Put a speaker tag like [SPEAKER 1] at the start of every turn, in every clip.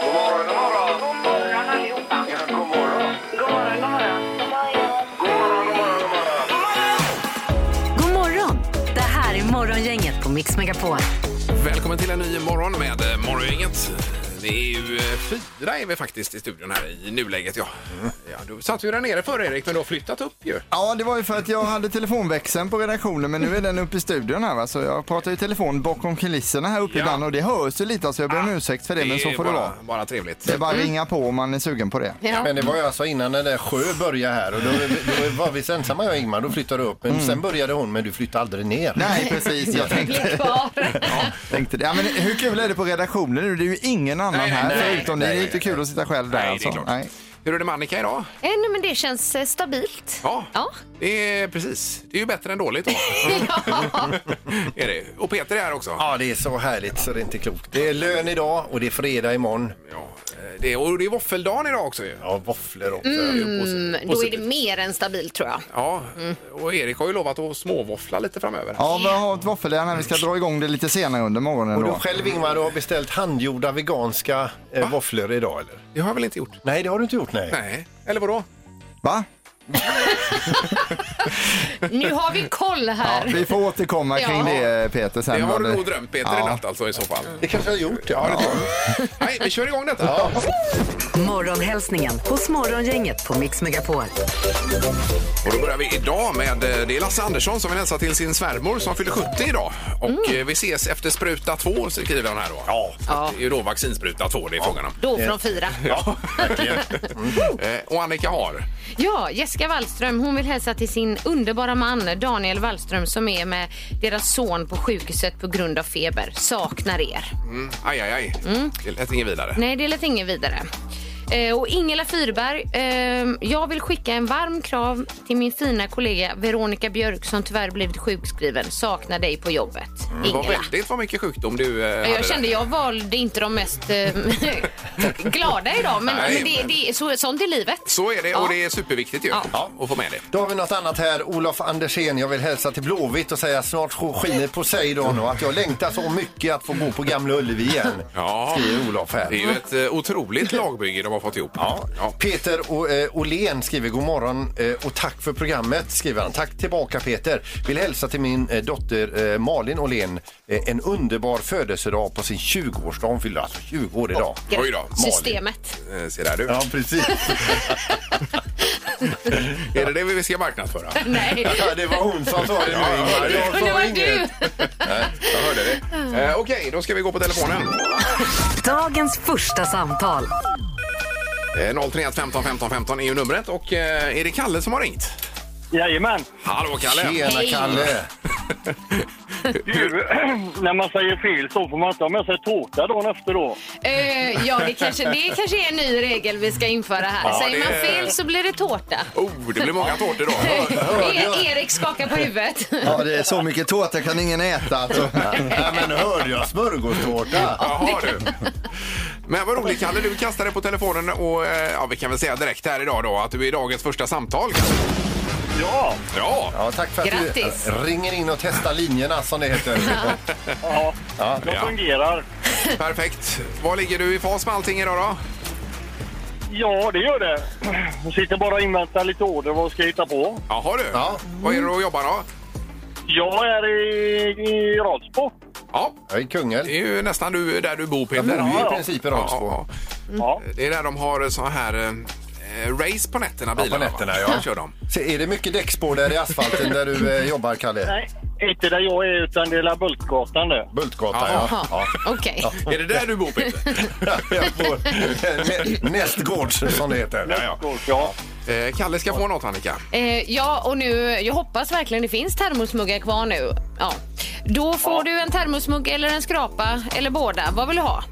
[SPEAKER 1] God morgon, god morgon. God morgon allihopa. Ja, god morgon. God morgon, god morgon.
[SPEAKER 2] God
[SPEAKER 1] God morgon, god morgon, god morgon.
[SPEAKER 2] morgon! Det här är Morgongänget på Mix Megapol.
[SPEAKER 3] Välkommen till en ny morgon med eh, Morgongänget. Det är ju eh, fyra är vi faktiskt i studion här i nuläget. Ja, ja du satt ju där nere förr Erik, men du har flyttat upp ju.
[SPEAKER 4] Ja, det var ju för att jag hade telefonväxeln på redaktionen men nu är den uppe i studion här va? så jag pratar ju telefon bakom kulisserna här uppe
[SPEAKER 3] Ja.
[SPEAKER 4] ibland och det hörs ju lite så jag ber om ursäkt för det men så
[SPEAKER 3] är
[SPEAKER 4] får
[SPEAKER 3] bara, Mm.
[SPEAKER 4] det vara.
[SPEAKER 3] Bara trevligt.
[SPEAKER 4] Det är bara att ringa på om man är sugen på det.
[SPEAKER 5] Mm. Men det var ju alltså innan den där sjö började här och då, då var vi så ensamma jag och Ingmar, då flyttade du upp. Men sen började hon, men du flyttade aldrig ner.
[SPEAKER 4] Mm. Nej precis, jag tänkte, tänkte det. Ja, men hur kul är det på redaktionen nu? Det är ju ingen annan
[SPEAKER 3] Nej, nej,
[SPEAKER 4] här
[SPEAKER 3] nej.
[SPEAKER 4] förutom det. Det är
[SPEAKER 3] Nej,
[SPEAKER 4] ju inte
[SPEAKER 3] nej,
[SPEAKER 4] kul att sitta själv där
[SPEAKER 3] Nej, det är
[SPEAKER 4] alltså.
[SPEAKER 3] klart. Hur är det med Annika idag?
[SPEAKER 6] Eh, Nej, men det känns eh, stabilt.
[SPEAKER 3] Ja,
[SPEAKER 6] Ja.
[SPEAKER 3] det är precis. Det är ju bättre än dåligt då. är det. Och Peter är här också.
[SPEAKER 5] Ja, det är så härligt så det är inte klokt. Det är lön idag och det är fredag imorgon. Eh,
[SPEAKER 3] Ja, det är, och det är våffeldagen idag också ju.
[SPEAKER 5] Ja, våfflor också.
[SPEAKER 3] Posi-
[SPEAKER 6] Mm, Då är det
[SPEAKER 3] positivt.
[SPEAKER 6] mer än stabilt tror jag.
[SPEAKER 3] Ja,
[SPEAKER 5] Mm.
[SPEAKER 3] och Erik har ju lovat att småvåffla lite framöver.
[SPEAKER 4] Ja, vi har ett våffeljärn här. Vi ska dra igång det lite senare under morgonen
[SPEAKER 5] Och du
[SPEAKER 4] då.
[SPEAKER 5] själv Ingmar, du har beställt handgjorda veganska eh, våfflor idag eller?
[SPEAKER 3] Det har jag väl inte gjort?
[SPEAKER 5] Nej, det har du inte gjort nej.
[SPEAKER 3] Nej, eller vadå?
[SPEAKER 4] Va?
[SPEAKER 6] Nu har vi koll här.
[SPEAKER 4] Vi får återkomma kring
[SPEAKER 6] Ja.
[SPEAKER 4] det Peter sen.
[SPEAKER 3] Det har
[SPEAKER 4] vad
[SPEAKER 3] du nog drömt Peter i
[SPEAKER 4] Ja.
[SPEAKER 3] natt alltså i så fall.
[SPEAKER 5] Det kanske jag har gjort.
[SPEAKER 3] Ja, det tror jag. Nej, vi kör igång detta.
[SPEAKER 2] Morgonhälsningen hos Morgongänget på Mix Megapol.
[SPEAKER 3] Och då börjar vi idag med eh, det är Lasse Andersson som vill hälsa till sin svärmor som fyller 70 idag. Och
[SPEAKER 6] Mm.
[SPEAKER 3] eh, vi ses efter spruta 2 skriver han här då. Ja. Det är ju då vaccinspruta 2 det är frågan om.
[SPEAKER 6] Då från fyra.
[SPEAKER 3] Ja, verkligen. Eh, Och Annika har.
[SPEAKER 6] Ja, Jessica Wallström hon vill hälsa till sin underbara man Daniel Wallström som är med deras son på sjukhuset på grund av feber. Saknar er.
[SPEAKER 3] Mm, aj, aj, aj. Det lät inget vidare.
[SPEAKER 6] Nej, det lät inget vidare. Eh, och Ingela Fyrberg, ehm, jag vill skicka en varm krav till min fina kollega Veronica Björk som tyvärr blivit sjukskriven. Saknar dig på jobbet.
[SPEAKER 3] Det var
[SPEAKER 6] Ingela.
[SPEAKER 3] väldigt Mm, vad mycket sjukdom du eh, hade
[SPEAKER 6] Jag kände
[SPEAKER 3] där.
[SPEAKER 6] jag valde inte de mest eh, glada idag, men,
[SPEAKER 3] Nej,
[SPEAKER 6] men det,
[SPEAKER 3] men-
[SPEAKER 6] det är så, sånt är livet.
[SPEAKER 3] Så är det och
[SPEAKER 6] Ja.
[SPEAKER 3] det är superviktigt ju att få med det.
[SPEAKER 5] Då har vi något annat här. Olof Andersén, jag vill hälsa till Blåvitt och säga snart skiner Poseidon och att jag längtar så mycket att få gå på Gamla Ullevi igen.
[SPEAKER 3] Ja.
[SPEAKER 5] Skriver Olof här.
[SPEAKER 3] Det är ju ett eh, otroligt lagbygge de har fått ihop. Ja.
[SPEAKER 5] Peter och, eh, Åhlén skriver god morgon eh, och tack för programmet. skriver han. Tack tillbaka Peter. Vill hälsa till min eh, dotter eh, Malin Åhlén eh, en underbar födelsedag på sin 20-årsdag. Hon fyller alltså 20 år idag.
[SPEAKER 3] Oj då, Malin.
[SPEAKER 6] Systemet.
[SPEAKER 3] Eh, Se där du.
[SPEAKER 5] Ja, precis.
[SPEAKER 3] Är det det vi ska marknadsföra?
[SPEAKER 6] Nej.
[SPEAKER 5] Ja, det var hon som sa det nu, Ingmar. Jag
[SPEAKER 6] Men det
[SPEAKER 5] sa
[SPEAKER 6] var
[SPEAKER 5] inget.
[SPEAKER 6] du!
[SPEAKER 3] Nej, jag hörde det. Eh, Okej, då ska vi gå på telefonen.
[SPEAKER 2] Dagens första samtal.
[SPEAKER 3] Eh, 031 15 15 15 är ju numret och eh, är det Kalle som har ringt?
[SPEAKER 7] Jajamän.
[SPEAKER 3] Hallå Kalle!
[SPEAKER 5] Tjena Kalle!
[SPEAKER 7] Du, när man säger fel så får man inte ha med sig tårta dagen efter då.
[SPEAKER 6] Eh, ja, det kanske, det kanske är en ny regel vi ska införa här.
[SPEAKER 3] Ja,
[SPEAKER 6] Säger
[SPEAKER 3] det-
[SPEAKER 6] man fel så blir det tårta.
[SPEAKER 3] Oh, det blir många tårtor då.
[SPEAKER 6] E- Erik skakar på huvudet.
[SPEAKER 4] Ja, det är så mycket tårta kan ingen äta alltså.
[SPEAKER 5] Nej, men hörde jag smörgåstårta?
[SPEAKER 3] Jaha du. Men vad roligt Kalle, du kastade på telefonen och eh, ja, vi kan väl säga direkt här idag då att du är dagens första samtal. Kalle.
[SPEAKER 7] Ja,
[SPEAKER 3] Ja!
[SPEAKER 5] Ja, tack för att
[SPEAKER 6] Grattis.
[SPEAKER 5] du ringer in och testar linjerna som det heter.
[SPEAKER 7] ja. de
[SPEAKER 3] ja.
[SPEAKER 7] fungerar.
[SPEAKER 3] Perfekt. Var ligger du i fas med allting idag då?
[SPEAKER 7] Ja, det gör det. Jag sitter bara och inväntar lite order vad jag ska hitta på.
[SPEAKER 3] Jaha du.
[SPEAKER 5] Ja.
[SPEAKER 3] Vad är det du jobbar då?
[SPEAKER 7] Jag är i, i Radsbo.
[SPEAKER 3] Ja,
[SPEAKER 5] Jag är
[SPEAKER 3] det
[SPEAKER 5] Kungälv.
[SPEAKER 3] är ju nästan du, där du bor
[SPEAKER 5] Du
[SPEAKER 3] Peter.
[SPEAKER 5] är i
[SPEAKER 7] ja.
[SPEAKER 5] princip i Radsbo.
[SPEAKER 3] ja.
[SPEAKER 7] Ja.
[SPEAKER 3] Det är där de har så här eh, race på nätterna.
[SPEAKER 5] på
[SPEAKER 3] bilarna, va?
[SPEAKER 5] nätterna, ja.
[SPEAKER 3] Kör de.
[SPEAKER 5] Se, Är det mycket däckspår där i asfalten där du eh, jobbar, Kalle?
[SPEAKER 7] Nej, inte där jag är utan det är La Bultgatan det.
[SPEAKER 5] Bultgatan, ja.
[SPEAKER 6] Jaha, Okej.
[SPEAKER 3] Är det där du bor Peter?
[SPEAKER 5] ja. Jag får- Nä- Nästgårds, som det heter. Eh, Ja, ja.
[SPEAKER 7] Ja.
[SPEAKER 3] Eh, Kalle ska få något Annika.
[SPEAKER 6] Eh, ja, och nu, jag hoppas verkligen det finns termosmuggar kvar nu. Ja. Då får du en termosmugg eller en skrapa eller båda. Vad vill du ha?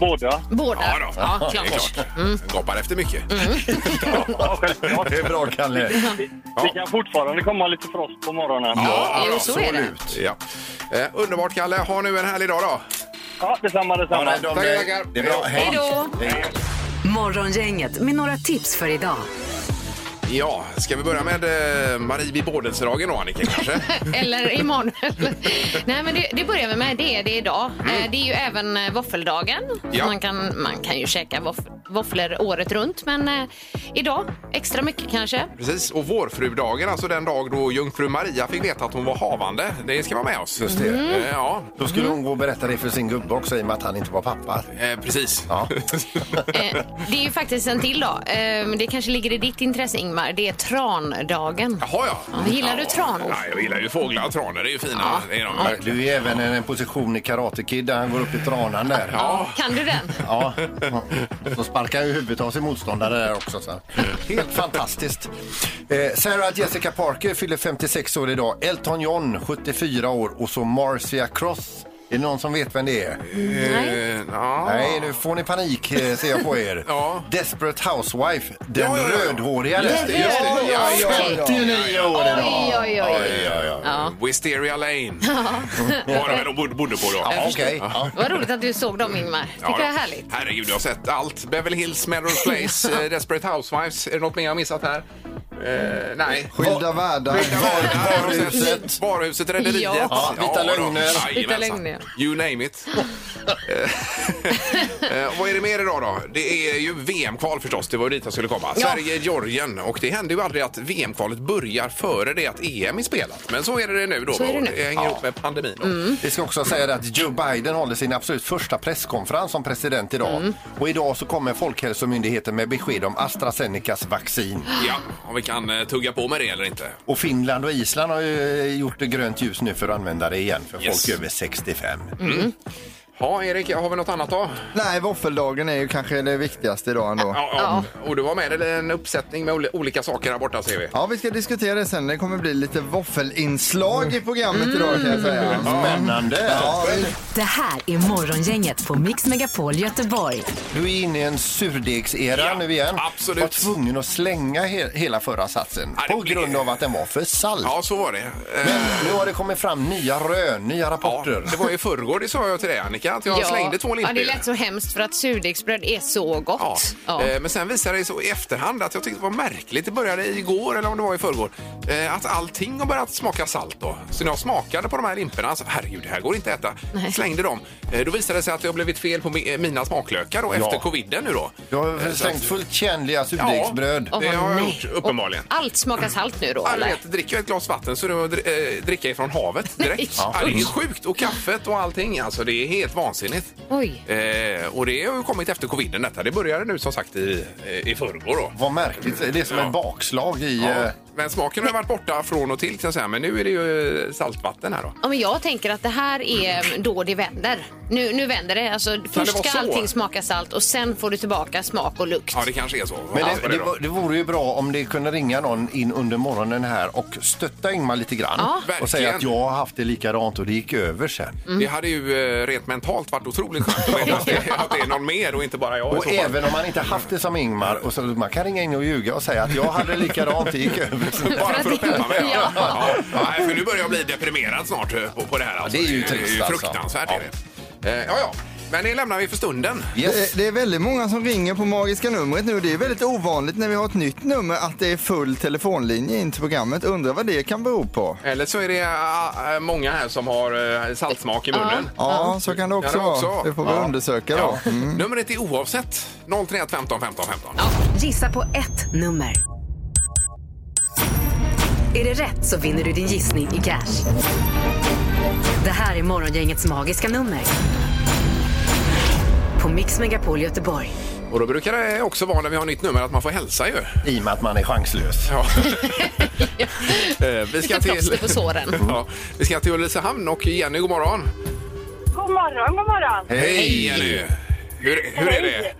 [SPEAKER 7] Båda.
[SPEAKER 6] Båda.
[SPEAKER 3] Ja, då.
[SPEAKER 6] Ja,
[SPEAKER 3] Det är
[SPEAKER 6] klart. Mm.
[SPEAKER 3] klart. Gapar efter mycket.
[SPEAKER 7] Ja, självklart.
[SPEAKER 5] Det är bra, Kalle.
[SPEAKER 7] Det kan fortfarande komma lite frost på morgonen.
[SPEAKER 3] Ja,
[SPEAKER 6] Jo, så är det.
[SPEAKER 3] absolut. Ja. Eh, underbart Kalle. Ha nu en härlig dag då.
[SPEAKER 7] Ja, detsamma,
[SPEAKER 5] Ja,
[SPEAKER 7] detsamma.
[SPEAKER 5] nej, de,
[SPEAKER 3] Tackar, tackar.
[SPEAKER 5] Det är bra.
[SPEAKER 6] Hej då!
[SPEAKER 5] Hej.
[SPEAKER 2] Morgongänget med några tips för idag.
[SPEAKER 3] Ja, ska vi börja med eh, Marie vid Bådelsedagen då Annika kanske?
[SPEAKER 6] Eller Emanuel. Nej, men det, det börjar vi med. Det är det idag. Eh, Det är ju även eh, våffeldagen.
[SPEAKER 3] Mm. Ja.
[SPEAKER 6] Man, kan, man kan ju käka våff, våfflor året runt, men eh, idag extra mycket kanske.
[SPEAKER 3] Precis, och vårfrudagen, alltså den dag då jungfru Maria fick veta att hon var havande. Det ska vara med oss.
[SPEAKER 6] Mm.
[SPEAKER 5] Just det.
[SPEAKER 3] Eh, Ja,
[SPEAKER 5] Då skulle hon gå och berätta det för sin gubbe också i och med att han inte var pappa.
[SPEAKER 3] eh, precis.
[SPEAKER 5] Ja.
[SPEAKER 6] Eh, Det är ju faktiskt en till dag. Eh, men Det kanske ligger i ditt intresse, Ingmar. Det är trandagen.
[SPEAKER 3] Jaha, ja.
[SPEAKER 6] Ja, gillar du tran?
[SPEAKER 3] Ja, jag gillar ju fåglar och tranor. Det är ju fina. Det är de.
[SPEAKER 5] Du är även i en position i Karate Kid där han går upp i tranan där.
[SPEAKER 3] Ja.
[SPEAKER 6] Kan du den?
[SPEAKER 5] Ja, så sparkar ju huvudet av sin motståndare där också. Så. Helt fantastiskt. Eh, Sarah Jessica Parker fyller 56 år idag. Elton John 74 år och så Marcia Cross. Är det någon som vet vem det är?
[SPEAKER 6] Nej.
[SPEAKER 3] Eh, ja.
[SPEAKER 5] Nej, nu får ni panik eh, ser jag på er.
[SPEAKER 3] Ja.
[SPEAKER 5] Desperate Housewife, den
[SPEAKER 3] Ja, ja, ja.
[SPEAKER 5] rödhåriga.
[SPEAKER 3] Just det, just det. Ja, ja,
[SPEAKER 6] ja.
[SPEAKER 5] 59 år idag.
[SPEAKER 6] Oj, oj, oj.
[SPEAKER 5] Oj, oj, oj.
[SPEAKER 6] Ja.
[SPEAKER 3] Wisteria Lane var det väl de bod- bodde på då.
[SPEAKER 5] Ja, okej. Ja.
[SPEAKER 6] Vad roligt att du såg dem, Ingmar. Tycker
[SPEAKER 3] Ja,
[SPEAKER 6] jag är
[SPEAKER 3] då.
[SPEAKER 6] härligt.
[SPEAKER 3] Herregud, jag har sett allt. Beverly Hills, Melrose Place, eh, Desperate Housewives. Är det något mer jag har missat här? Eh, nej.
[SPEAKER 4] Skilda världar.
[SPEAKER 3] Ja, där har jag sett.
[SPEAKER 5] Varuhuset.
[SPEAKER 3] Varuhuset, Rederiet.
[SPEAKER 6] Ja.
[SPEAKER 5] Ja, Vita
[SPEAKER 3] då.
[SPEAKER 5] Lögner.
[SPEAKER 3] Jajamensan.
[SPEAKER 6] Vita Lögner.
[SPEAKER 3] You name it. Eh, eh, Vad är det mer idag då? Det är ju VM-kval förstås. Det var ju dit jag skulle komma. Sverige, Georgien. Och det händer ju aldrig att VM-kvalet börjar före det att EM är spelat. Men så är det nu då.
[SPEAKER 6] Så är det nu.
[SPEAKER 3] hänger ihop med pandemin. Då.
[SPEAKER 5] Vi ska också säga det att Joe Biden håller sin absolut första presskonferens som president idag.
[SPEAKER 3] Mm.
[SPEAKER 5] Och idag så kommer Folkhälsomyndigheten med besked om AstraZenecas vaccin.
[SPEAKER 3] Ja, om vi kan eh, tugga på med det eller inte.
[SPEAKER 5] Och Finland och Island har ju eh, gjort det grönt ljus nu för att använda det igen för
[SPEAKER 3] Yes.
[SPEAKER 5] folk över 65.
[SPEAKER 3] Ja, Erik, har vi något annat då?
[SPEAKER 4] Mm. Nej, våffeldagen är ju kanske det viktigaste idag ändå.
[SPEAKER 3] Ja, ja. Och du var med i en uppsättning med oli- olika saker här borta ser vi.
[SPEAKER 4] Ja, vi ska diskutera det sen. Det kommer bli lite våffelinslag i programmet idag kan jag
[SPEAKER 5] Mm.
[SPEAKER 4] säga.
[SPEAKER 5] Spännande!
[SPEAKER 4] Ja, vi-
[SPEAKER 2] Det här är Morgongänget på Mix Megapol Göteborg.
[SPEAKER 5] Du är inne i en surdegsera
[SPEAKER 3] Ja,
[SPEAKER 5] nu igen.
[SPEAKER 3] absolut.
[SPEAKER 5] Var tvungen att slänga he- hela förra satsen
[SPEAKER 3] Ja, det
[SPEAKER 5] på
[SPEAKER 3] blir-
[SPEAKER 5] grund av att den var för salt.
[SPEAKER 3] Ja, så var det. Eh,
[SPEAKER 5] Men nu har det kommit fram nya rön, nya
[SPEAKER 3] Ja,
[SPEAKER 5] rapporter.
[SPEAKER 3] det var i förrgår, det sa jag till dig Annika, att jag slängde två
[SPEAKER 6] ja, det
[SPEAKER 3] limpor.
[SPEAKER 6] lät så hemskt för att surdegsbröd är så
[SPEAKER 3] Ja.
[SPEAKER 6] gott. Ja.
[SPEAKER 3] Eh, Men sen visade det sig så i efterhand att jag tyckte det var märkligt. Det började igår eller om det var i förrgår. eh, Att allting har börjat smaka salt då. Så när jag smakade på de här limporna så herregud, det här går inte att äta. Slängde dem. Eh, Då visade det sig att det har blivit fel på mi- eh, mina smaklökar då, efter coviden nu då.
[SPEAKER 5] Du har slängt fullt tjänliga surdegsbröd.
[SPEAKER 3] Ja.
[SPEAKER 6] Åh,
[SPEAKER 3] det har jag
[SPEAKER 6] nej.
[SPEAKER 3] gjort, uppenbarligen.
[SPEAKER 6] Och Allt smakar salt nu då,
[SPEAKER 3] Ja, du
[SPEAKER 6] eller?
[SPEAKER 3] vet, dricker jag ett glas vatten så är det att dri- eh, dricka ifrån havet direkt.
[SPEAKER 6] Nej.
[SPEAKER 3] ja. det är sjukt. Och kaffet och allting. Alltså, det är helt vansinnigt.
[SPEAKER 6] Oj.
[SPEAKER 3] Eh, och det har ju kommit efter coviden detta. Det började nu som sagt i, eh, i förrgår då.
[SPEAKER 5] Vad märkligt. Det är som ett bakslag i...
[SPEAKER 3] Ja.
[SPEAKER 5] eh,
[SPEAKER 3] Men smaken har ju varit borta från och till kan jag säga. Men nu är det ju eh, saltvatten här då.
[SPEAKER 6] Ja, men jag tänker att det här
[SPEAKER 3] Mm.
[SPEAKER 6] är mm, då det vänder. Nu, nu vänder det. Alltså, först
[SPEAKER 3] vara
[SPEAKER 6] ska
[SPEAKER 3] så?
[SPEAKER 6] allting smaka salt och sen får du tillbaka smak och lukt.
[SPEAKER 3] Ja, det kanske är så.
[SPEAKER 5] Men
[SPEAKER 3] Hoppas på
[SPEAKER 5] det,
[SPEAKER 3] det
[SPEAKER 5] det,
[SPEAKER 3] då.
[SPEAKER 5] var- det vore ju bra om det kunde ringa någon in under morgonen här och stötta Ingmar lite grann
[SPEAKER 3] Verkligen.
[SPEAKER 5] och säga att jag har haft det likadant och det gick över sen.
[SPEAKER 3] Det hade ju eh, rent mentalt varit otroligt skönt att veta att det- att det är någon mer och inte bara jag. i
[SPEAKER 5] Och
[SPEAKER 3] så fall.
[SPEAKER 5] även om man inte haft det som Ingmar, och så, man kan ringa in och ljuga och säga att jag hade likadant, det gick över. sen.
[SPEAKER 3] Bara för att peppa mig.
[SPEAKER 6] Ja.
[SPEAKER 3] Ja. Ja. Nej, för nu börjar jag bli deprimerad snart eh, på, på det här. Alltså.
[SPEAKER 5] det är ju trist, alltså.
[SPEAKER 3] fruktansvärt. Är
[SPEAKER 5] Ja.
[SPEAKER 3] det. Eh, ja, ja. Men det lämnar vi för stunden.
[SPEAKER 5] Yes.
[SPEAKER 4] Det, det är väldigt många som ringer på magiska numret nu. Det är väldigt ovanligt när vi har ett nytt nummer att det är full telefonlinje in till programmet. Undrar vad det kan bero på.
[SPEAKER 3] Eller så är det eh, eh, många här som har eh, saltsmak i munnen.
[SPEAKER 4] Ja, så kan det också
[SPEAKER 3] Kan det också
[SPEAKER 4] vara.
[SPEAKER 3] vara?
[SPEAKER 4] Det får vi
[SPEAKER 3] Ja.
[SPEAKER 4] undersöka då. Mm.
[SPEAKER 3] Ja. Numret är oavsett 031 15 15 15.
[SPEAKER 2] Gissa på ett nummer. Är det rätt så vinner du din gissning i cash. Det här är Morgongängets magiska nummer. På Mix Megapol Göteborg.
[SPEAKER 3] Och då brukar det också vara när vi har nytt nummer att man får hälsa ju.
[SPEAKER 5] I och med att man är chanslös.
[SPEAKER 3] Ja. Eh, vi,
[SPEAKER 6] Lite
[SPEAKER 3] ska
[SPEAKER 6] plåster
[SPEAKER 3] till...
[SPEAKER 6] på såren.
[SPEAKER 3] ja, vi ska till Ulricehamn och Jenny, god morgon.
[SPEAKER 8] God morgon, god morgon.
[SPEAKER 3] Hej Jenny! Hur, hur är det?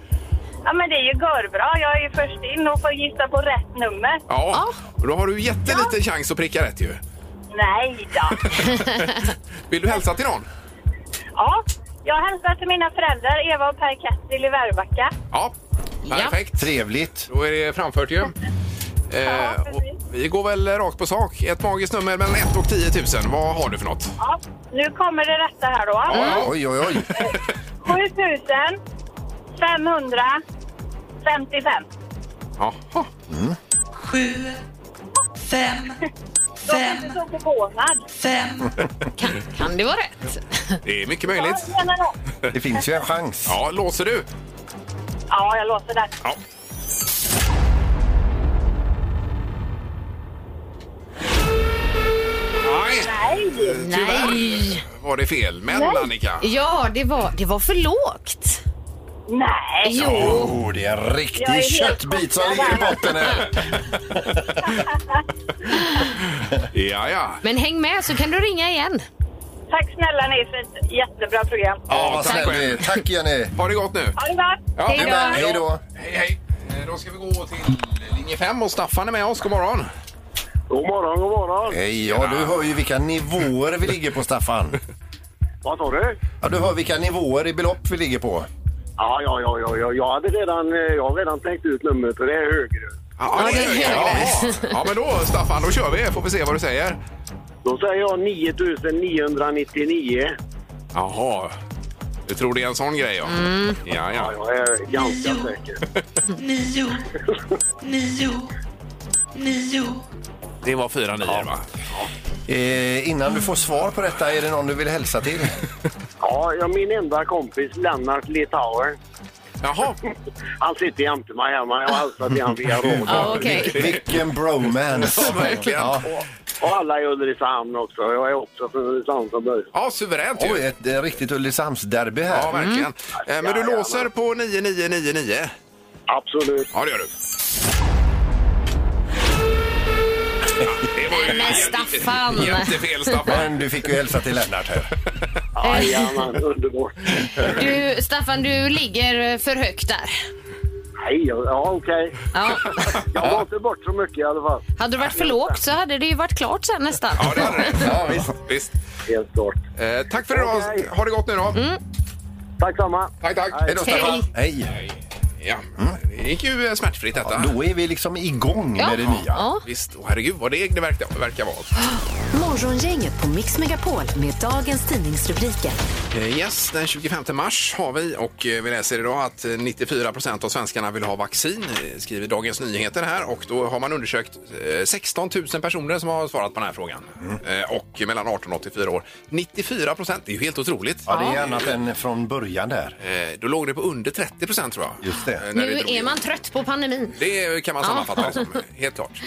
[SPEAKER 8] Ja, men det är ju görbra. Jag är ju först in och får gissa på rätt nummer.
[SPEAKER 3] Ja, och då har du jätteliten chans att pricka rätt ju.
[SPEAKER 8] Nej då.
[SPEAKER 3] Vill du hälsa till någon?
[SPEAKER 8] Ja, jag hälsar till mina föräldrar Eva och Per Kettil i Väröbacka.
[SPEAKER 6] Ja.
[SPEAKER 3] Ja, perfekt.
[SPEAKER 5] Trevligt.
[SPEAKER 3] Då är det framfört ju. Eh, och vi går väl rakt på sak. Ett magiskt nummer mellan 1 och 10 000. Vad har du för något?
[SPEAKER 8] Ja, nu kommer det rätta här då.
[SPEAKER 5] Oj, oj, oj.
[SPEAKER 8] 7000 555.
[SPEAKER 5] Mm.
[SPEAKER 3] Jaha.
[SPEAKER 9] sju, fem,
[SPEAKER 8] Jag
[SPEAKER 9] fem,
[SPEAKER 8] är så förvånad.
[SPEAKER 9] fem.
[SPEAKER 6] Kan, kan det vara rätt?
[SPEAKER 3] Det är mycket
[SPEAKER 8] Ja,
[SPEAKER 3] möjligt.
[SPEAKER 8] jag menar det.
[SPEAKER 5] Det finns ju en chans.
[SPEAKER 3] Ja, låser du?
[SPEAKER 8] Ja, jag låter det.
[SPEAKER 3] Ja. Nej,
[SPEAKER 8] Nej!
[SPEAKER 6] Nej.
[SPEAKER 3] var det fel. Men Annika,
[SPEAKER 6] Ja, det var, det var för lågt.
[SPEAKER 8] Nej!
[SPEAKER 6] Jo.
[SPEAKER 5] Oh, det är en riktig
[SPEAKER 8] Jag är helt
[SPEAKER 5] köttbit som
[SPEAKER 8] borta
[SPEAKER 5] ligger i
[SPEAKER 8] där.
[SPEAKER 5] botten här.
[SPEAKER 3] ja, ja.
[SPEAKER 6] Men häng med så kan du ringa igen.
[SPEAKER 8] Tack snälla ni för ett jättebra program.
[SPEAKER 5] Ja, vad
[SPEAKER 3] tack
[SPEAKER 5] snäll
[SPEAKER 3] själv.
[SPEAKER 5] ni är. Tack Jenny.
[SPEAKER 3] Har det gått nu?
[SPEAKER 8] Ha det bra!
[SPEAKER 3] Ja,
[SPEAKER 6] Hej då.
[SPEAKER 3] men-
[SPEAKER 5] Hej då.
[SPEAKER 3] Hej, hej. Eh, Då ska vi gå till linje 5 och Staffan är med oss. God morgon.
[SPEAKER 7] God morgon, god morgon.
[SPEAKER 5] Hej, ja du hör ju vilka nivåer vi ligger på Staffan.
[SPEAKER 7] Vad sa du?
[SPEAKER 5] Ja, du hör vilka nivåer i belopp vi ligger på.
[SPEAKER 7] Ja, ja, ja, ja, ja. Jag, hade redan, eh, jag har redan tänkt ut numret och det är högre.
[SPEAKER 3] Ja,
[SPEAKER 6] det är
[SPEAKER 3] ja, ja, men då Staffan, då kör vi. Får vi se vad du säger.
[SPEAKER 7] Då säger jag 9999.
[SPEAKER 3] Jaha. Du tror det är en sån grej, ja. Ja,
[SPEAKER 7] Ja,
[SPEAKER 3] ja.
[SPEAKER 7] jag är ganska säker.
[SPEAKER 9] Nio, nio, nio.
[SPEAKER 3] Det var 4 9 va?
[SPEAKER 5] Eh, innan du får svar på detta, är det någon du vill hälsa till?
[SPEAKER 7] Ja, jag, min enda kompis Lennart Litauer.
[SPEAKER 3] Jaha.
[SPEAKER 7] Han sitter jämte mig hemma. Jag har hälsat till honom via radio.
[SPEAKER 6] Ja, okej.
[SPEAKER 5] Vilken bromance!
[SPEAKER 3] Ja, verkligen.
[SPEAKER 5] Ja.
[SPEAKER 7] Och alla i Ulricehamn också. Jag är också från Ulricehamn från början.
[SPEAKER 3] Ja, suveränt
[SPEAKER 5] Oj,
[SPEAKER 3] ju.
[SPEAKER 5] ett eh, riktigt Ulricehamnsderby
[SPEAKER 3] Ja,
[SPEAKER 5] här. Mm.
[SPEAKER 3] verkligen. Eh, Men du
[SPEAKER 7] Jajamän.
[SPEAKER 3] låser på 9999.
[SPEAKER 7] Absolut.
[SPEAKER 3] Ja, det gör du. Ja, Det var ju
[SPEAKER 6] Men Staffan.
[SPEAKER 3] jättefel, Staffan.
[SPEAKER 5] Men du fick ju hälsa till Lennart här.
[SPEAKER 7] Jajamän, underbart.
[SPEAKER 6] Du, Staffan, du ligger för högt där.
[SPEAKER 7] Nej, ja okej.
[SPEAKER 6] Ja.
[SPEAKER 7] Jag var inte bort så mycket i alla fall.
[SPEAKER 6] Hade det varit för lågt så hade det ju varit klart sen nästan.
[SPEAKER 3] Ja, det hade du. Ja, visst. visst.
[SPEAKER 7] Helt klart.
[SPEAKER 3] Eh, tack för idag.
[SPEAKER 7] Okej.
[SPEAKER 3] Ha det gott nu då.
[SPEAKER 7] Tack samma.
[SPEAKER 3] Tack, tack.
[SPEAKER 5] Hej då, Staffan. Hej. Mm.
[SPEAKER 3] Ja, det gick ju eh, smärtfritt detta.
[SPEAKER 5] Då är vi liksom igång
[SPEAKER 6] Ja.
[SPEAKER 5] med det nya.
[SPEAKER 6] Ja.
[SPEAKER 3] Visst, och herregud vad deg det verkar, verkar vara.
[SPEAKER 2] Morgongänget på Mix Megapol med dagens tidningsrubriker.
[SPEAKER 3] Eh, Yes, den 25 mars har vi och eh, vi läser idag att eh, 94 procent av svenskarna vill ha vaccin, eh, skriver Dagens Nyheter här och då har man undersökt eh, 16 000 personer som har svarat på den här frågan
[SPEAKER 5] Mm.
[SPEAKER 3] Eh, och mellan 18 och 84 år. 94 procent, det är ju helt otroligt.
[SPEAKER 5] Ja, det är annat än från början där.
[SPEAKER 3] Eh, Då låg det på under 30 procent tror jag.
[SPEAKER 5] Just det.
[SPEAKER 3] Eh, när
[SPEAKER 6] Nu
[SPEAKER 3] drog
[SPEAKER 6] är
[SPEAKER 3] igång.
[SPEAKER 6] man trött på pandemin.
[SPEAKER 3] Det kan man
[SPEAKER 6] Ja.
[SPEAKER 3] sammanfatta det som, helt klart.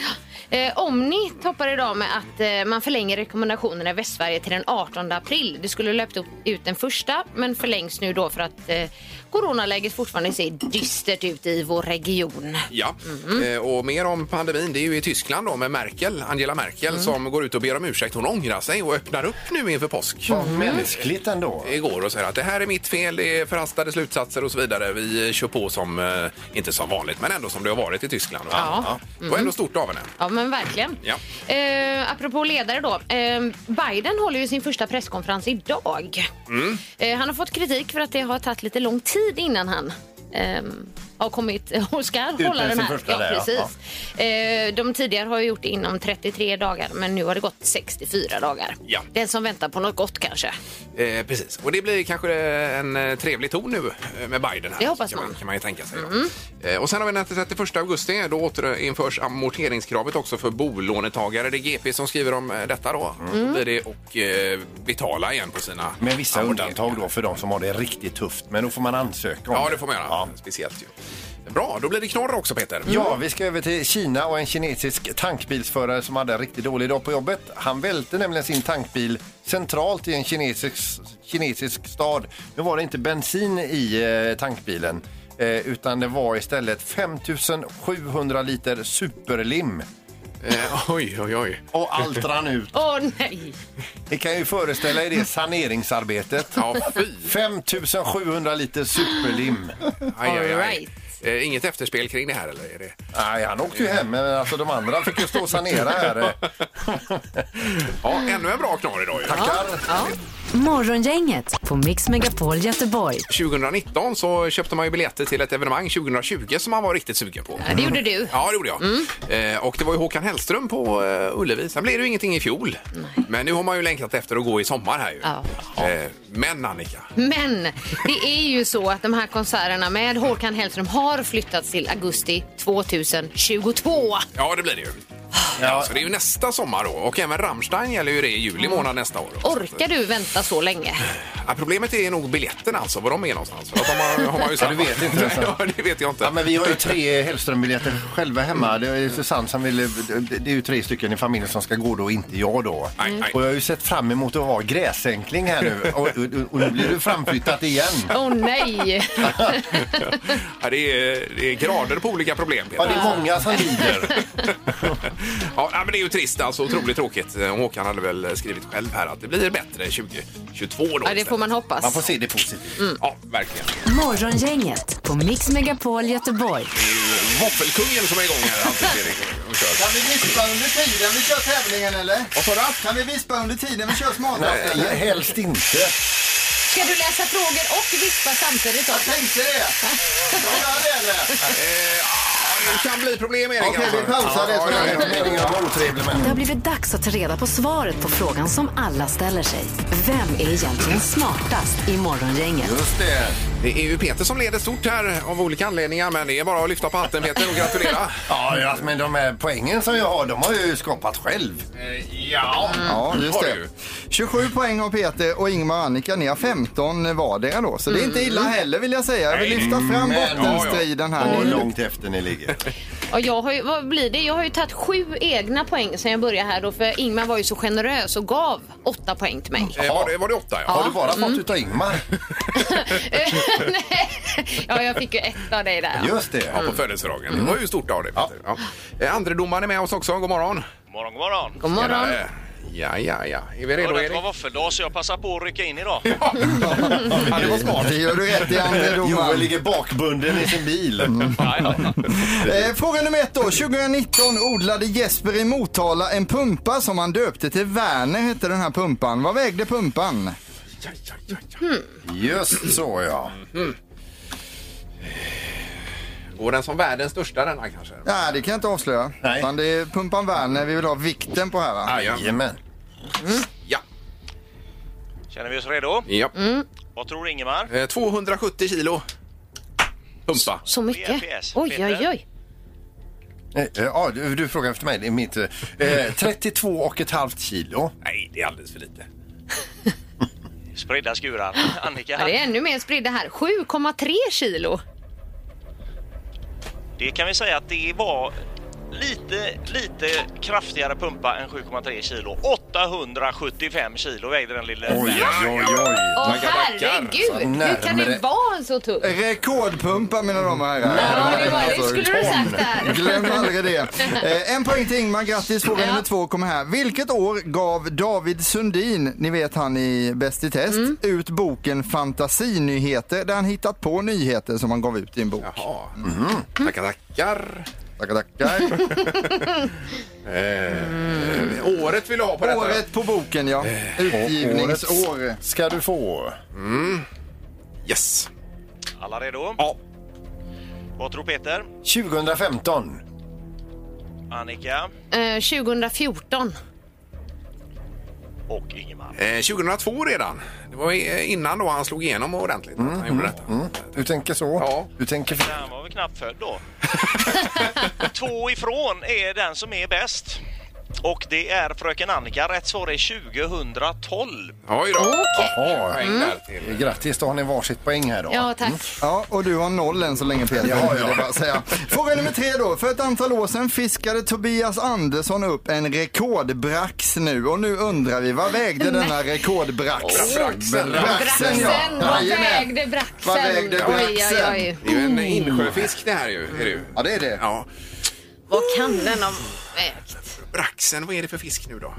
[SPEAKER 6] Eh, Omni toppar idag med att eh, man förlänger rekommendationerna i Västsverige till den 18 april. Det skulle löpt upp, ut den första, men förlängs nu då för att eh, coronaläget fortfarande ser dystert ut i vår region.
[SPEAKER 3] Ja,
[SPEAKER 6] Mm.
[SPEAKER 3] eh, och mer om pandemin, det är ju i Tyskland då med Merkel, Angela Merkel
[SPEAKER 6] Mm.
[SPEAKER 3] som går ut och ber om ursäkt. Hon ångrar sig och öppnar upp nu inför påsk.
[SPEAKER 5] Vad mänskligt ändå.
[SPEAKER 3] igår och säger att det här är mitt fel, det är förhastade slutsatser och så vidare. Vi eh, kör på som, eh, inte som vanligt, men ändå som det har varit i Tyskland.
[SPEAKER 6] Ja. Mm.
[SPEAKER 3] Det var ändå stort av henne.
[SPEAKER 6] Ja, men verkligen.
[SPEAKER 3] Ja.
[SPEAKER 6] Eh, apropå ledare då. Eh, Biden håller ju sin första presskonferens idag.
[SPEAKER 3] Mm.
[SPEAKER 6] Eh, han har fått kritik för att det har tagit lite lång tid innan han eh, har kommit eh, och ska
[SPEAKER 5] med
[SPEAKER 6] hålla den
[SPEAKER 5] sin
[SPEAKER 6] här.
[SPEAKER 5] första
[SPEAKER 6] ja,
[SPEAKER 5] där, ja.
[SPEAKER 6] precis. Eh, de tidigare har ju gjort det inom 33 dagar, men nu har det gått 64 dagar.
[SPEAKER 3] Ja.
[SPEAKER 6] Den som väntar på något gott kanske.
[SPEAKER 3] Eh, precis, och det blir kanske eh, en eh, trevlig ton nu eh, med Biden. Här,
[SPEAKER 6] Det hoppas
[SPEAKER 3] kan man.
[SPEAKER 6] man.
[SPEAKER 3] kan man ju tänka sig. då.
[SPEAKER 6] Mm.
[SPEAKER 3] Eh, och sen har vi den 31 augusti, då återinförs amorteringskravet också för bolånetagare. Det är GP som skriver om eh, detta då.
[SPEAKER 5] Mm.
[SPEAKER 3] Då blir det och eh, betala igen på sina
[SPEAKER 5] Med vissa
[SPEAKER 3] amorteringar.
[SPEAKER 5] undantag då för de som har det riktigt tufft. Men då får man ansöka om
[SPEAKER 3] Ja, det får man göra.
[SPEAKER 5] Ja.
[SPEAKER 3] Speciellt ju. Bra, då blir det knorr också Peter.
[SPEAKER 5] Ja, vi ska över till Kina och en kinesisk tankbilsförare som hade en riktigt dålig dag på jobbet. Han välte nämligen sin tankbil centralt i en kinesisk, kinesisk stad. Nu var det inte bensin i eh, tankbilen eh, utan det var istället 5700 liter superlim.
[SPEAKER 3] Eh, oj, oj, oj.
[SPEAKER 5] Och allt rann ut.
[SPEAKER 6] Åh nej!
[SPEAKER 5] Ni kan ju föreställa er det saneringsarbetet.
[SPEAKER 3] Ja, fy.
[SPEAKER 5] 5700 liter superlim.
[SPEAKER 3] Aj, aj, aj.
[SPEAKER 6] All right.
[SPEAKER 3] Eh, inget efterspel kring det här eller? Är det... Eh.
[SPEAKER 5] Nej, han åkte ju hem, men alltså de andra fick ju stå och sanera här.
[SPEAKER 3] Ja, ännu en bra knorr idag ju.
[SPEAKER 5] Tackar!
[SPEAKER 6] Ja.
[SPEAKER 2] Morgongänget på Mix Megapol Göteborg.
[SPEAKER 3] 2019 så köpte man ju biljetter till ett evenemang 2020 som man var riktigt sugen på.
[SPEAKER 6] Ja, det gjorde du.
[SPEAKER 3] Ja, det gjorde jag. Eh, och det var ju Håkan Hellström på eh, Ullevi. Sen blev det ju ingenting i fjol. Men nu har man ju längtat efter att gå i sommar här ju.
[SPEAKER 6] Ja.
[SPEAKER 3] Eh, men Annika,
[SPEAKER 6] Men det är ju så att de här konserterna med Håkan Hellström har flyttats till augusti 2022.
[SPEAKER 3] ja det blir det ju. Ja. Så det är ju nästa sommar då. Och även Rammstein gäller ju det i juli månad nästa år. då. Så
[SPEAKER 6] Orkar du vänta så länge?
[SPEAKER 3] att- Ja, problemet är nog biljetterna alltså, var de är någonstans. För att de har, har man ju
[SPEAKER 5] Ja, du vet inte ens.
[SPEAKER 3] ja, det vet jag inte.
[SPEAKER 5] Ja, men vi har ju tre Hellström-biljetter själva hemma. Det är ju Susanne som vill, det är ju tre stycken i familjen som ska gå då, inte jag då.
[SPEAKER 3] Nej, nej.
[SPEAKER 5] Och jag har ju sett fram emot att ha gräsänkling här nu. Och, och, och nu blir du framflyttat igen.
[SPEAKER 6] Åh nej!
[SPEAKER 3] Ja, det, är, det är grader på olika problem.
[SPEAKER 5] Ja,
[SPEAKER 3] Peter.
[SPEAKER 5] det är många som lider.
[SPEAKER 3] ja, nej, men det är ju trist alltså. Otroligt tråkigt. Eh, Håkan hade väl skrivit själv här att det blir bättre 2022 då.
[SPEAKER 6] Ja, det får man
[SPEAKER 5] Man får
[SPEAKER 6] hoppas. Mm.
[SPEAKER 5] se det positivt.
[SPEAKER 3] Ja, verkligen.
[SPEAKER 2] Morgongänget på Mix Megapol Göteborg.
[SPEAKER 3] Våffelkungen som är igång här. Hans Erik, och kör.
[SPEAKER 4] Kan vi vispa under tiden vi kör tävlingen eller?
[SPEAKER 3] Vad sa du?
[SPEAKER 4] Kan vi vispa under tiden vi kör smartast
[SPEAKER 5] Nej,
[SPEAKER 4] eller?
[SPEAKER 5] helst inte.
[SPEAKER 6] Ska du läsa frågor och vispa samtidigt då?
[SPEAKER 4] Jag tänkte det! Vad gör det eller?
[SPEAKER 3] Eh, ja, det kan bli problem, Erik.
[SPEAKER 4] Okej, vi pausar det så
[SPEAKER 3] ja,
[SPEAKER 4] länge.
[SPEAKER 3] ja, ja.
[SPEAKER 5] Meningen var otrevlig men...
[SPEAKER 2] Det har blivit dags att ta reda på svaret på frågan som alla ställer sig. Vem är egentligen smartast i Morgongänget?
[SPEAKER 5] Just det.
[SPEAKER 3] Det är ju Peter som leder stort här av olika anledningar, men det är bara att lyfta på hatten, Peter, och gratulera.
[SPEAKER 5] Ja, ja, men de här poängen som jag har, de har jag ju skapat själv.
[SPEAKER 3] ja.
[SPEAKER 4] Mm. Ja, just
[SPEAKER 3] Har du.
[SPEAKER 4] det. 27 poäng har Peter och Ingmar och Annika. Ni har 15 vardera då. Så Alltså, det är inte
[SPEAKER 3] Mm.
[SPEAKER 4] illa
[SPEAKER 5] Mm.
[SPEAKER 4] heller vill jag säga. Jag vill lyfta fram
[SPEAKER 5] men-
[SPEAKER 4] bottenstriden här
[SPEAKER 5] Och
[SPEAKER 4] nu.
[SPEAKER 5] långt efter ni ligger.
[SPEAKER 3] Eh,
[SPEAKER 6] Ja, jag har ju, vad blir det? Jag har ju tagit sju egna poäng sen jag började här då, för Ingmar var ju så generös och gav åtta poäng till mig.
[SPEAKER 3] Eh, var, det, var det åtta? Ja.
[SPEAKER 5] Har du bara
[SPEAKER 4] Mm.
[SPEAKER 5] fått utav Ingmar?
[SPEAKER 6] Nej. ja, jag fick ju ett av dig där. ja.
[SPEAKER 5] Just det.
[SPEAKER 3] Ja, på födelsedagen. Det var ju stort av dig, Peter. Ja. Eh, Andredomaren är med oss också. God morgon.
[SPEAKER 1] Morgon, morgon.
[SPEAKER 6] God morgon.
[SPEAKER 3] Tjenare. Ja, ja, ja. Är vi redo,
[SPEAKER 1] Hörde att det var
[SPEAKER 3] Erik?
[SPEAKER 1] våffeldag så jag passar på att rycka in idag.
[SPEAKER 3] Ja, det var smart.
[SPEAKER 4] Det gör du rätt i andra
[SPEAKER 5] Joel
[SPEAKER 4] domaren.
[SPEAKER 5] ligger bakbunden i sin bil.
[SPEAKER 1] Ja, ja, ja.
[SPEAKER 4] Eh, fråga nummer ett då. 2019 odlade Jesper i Motala en pumpa som han döpte till Werner hette den här pumpan. Vad vägde pumpan?
[SPEAKER 5] Just så ja.
[SPEAKER 3] Går Eh, den som världens största denna kanske?
[SPEAKER 4] Nej, det kan jag inte avslöja.
[SPEAKER 5] Nej.
[SPEAKER 4] Utan det är pumpan Werner vi vill ha vikten på här va?
[SPEAKER 3] ja.
[SPEAKER 5] Jajamän.
[SPEAKER 3] ja.
[SPEAKER 1] Känner vi oss redo?
[SPEAKER 3] ja.
[SPEAKER 5] Mm.
[SPEAKER 4] Mm.
[SPEAKER 1] Vad tror Ingemar?
[SPEAKER 3] Eh, 270 kilo. Pumpa.
[SPEAKER 6] Så mycket?
[SPEAKER 1] PS,
[SPEAKER 6] Oj,
[SPEAKER 1] Peter.
[SPEAKER 6] oj, oj.
[SPEAKER 5] Eh, Ja, du, du frågar efter mig. Det är mitt. Eh, 32 och ett halvt kilo.
[SPEAKER 3] Nej, det är alldeles för lite.
[SPEAKER 1] Spridda skurar. Annika,
[SPEAKER 6] Ja, det är ännu mer spridda här. 7,3 kilo.
[SPEAKER 1] det kan vi säga att det var lite, lite kraftigare pumpa än 7,3 kilo. 875 kilo vägde den lilla.
[SPEAKER 5] Oj, oj, oj.
[SPEAKER 6] Åh
[SPEAKER 3] Tackar, tackar.
[SPEAKER 6] herregud! Hur kan det
[SPEAKER 5] Närmare.
[SPEAKER 6] vara så tungt?
[SPEAKER 4] Rekordpumpa mina damer och herrar. Alltså,
[SPEAKER 6] Ja, det, var, det skulle du sagt där.
[SPEAKER 4] Glöm aldrig det. Eh, en poäng till Ingmar. Grattis. Fråga nummer två kommer här. Vilket år gav David Sundin, ni vet han i Bäst i test,
[SPEAKER 6] Mm.
[SPEAKER 4] ut boken Fantasinyheter där han hittat på nyheter som han gav ut i en bok.
[SPEAKER 3] Jaha.
[SPEAKER 5] Mhm.
[SPEAKER 3] Tackar, tackar.
[SPEAKER 4] Tackar, tackar.
[SPEAKER 3] Eh, Året vill du ha på detta?
[SPEAKER 4] Året på boken, ja. Utgivningsår.
[SPEAKER 5] Ska du få.
[SPEAKER 3] Mm. Yes.
[SPEAKER 1] Alla redo?
[SPEAKER 3] Ja.
[SPEAKER 1] Vad tror Peter?
[SPEAKER 5] 2015.
[SPEAKER 1] Annika
[SPEAKER 6] Eh, 2014.
[SPEAKER 1] och Ingemar.
[SPEAKER 3] Eh, 2002 redan. Det var eh, innan då han slog igenom ordentligt. att han gjorde detta.
[SPEAKER 5] Mm, Du tänker så?
[SPEAKER 3] Ja.
[SPEAKER 5] Du tänker fel.
[SPEAKER 1] Han var väl knappt född då. Två ifrån är den som är bäst. Och det är fröken Annika. Rätt svar är 2012.
[SPEAKER 3] Oj då.
[SPEAKER 5] Jaha.
[SPEAKER 3] Poäng där
[SPEAKER 6] Mm.
[SPEAKER 3] till.
[SPEAKER 5] Grattis, då har ni varsitt poäng här då.
[SPEAKER 6] Ja, tack.
[SPEAKER 4] Mm. Ja, och du har noll än så länge Peter.
[SPEAKER 5] Ja, ja.
[SPEAKER 4] vill jag bara säga. Fråga nummer tre då. För ett antal år sedan fiskade Tobias Andersson upp en rekordbrax nu och nu undrar vi vad vägde denna rekordbrax?
[SPEAKER 3] Braxen.
[SPEAKER 4] Braxen, ja.
[SPEAKER 6] Braxen, vad
[SPEAKER 4] Jajamän.
[SPEAKER 6] vägde braxen?
[SPEAKER 4] Vad vägde braxen?
[SPEAKER 6] oj.
[SPEAKER 3] Det är ju en insjöfisk det här ju. Är det ju.
[SPEAKER 4] Ja, det är det.
[SPEAKER 3] Ja.
[SPEAKER 6] Vad kan den ha vägt?
[SPEAKER 3] Braxen, vad är det för fisk nu då?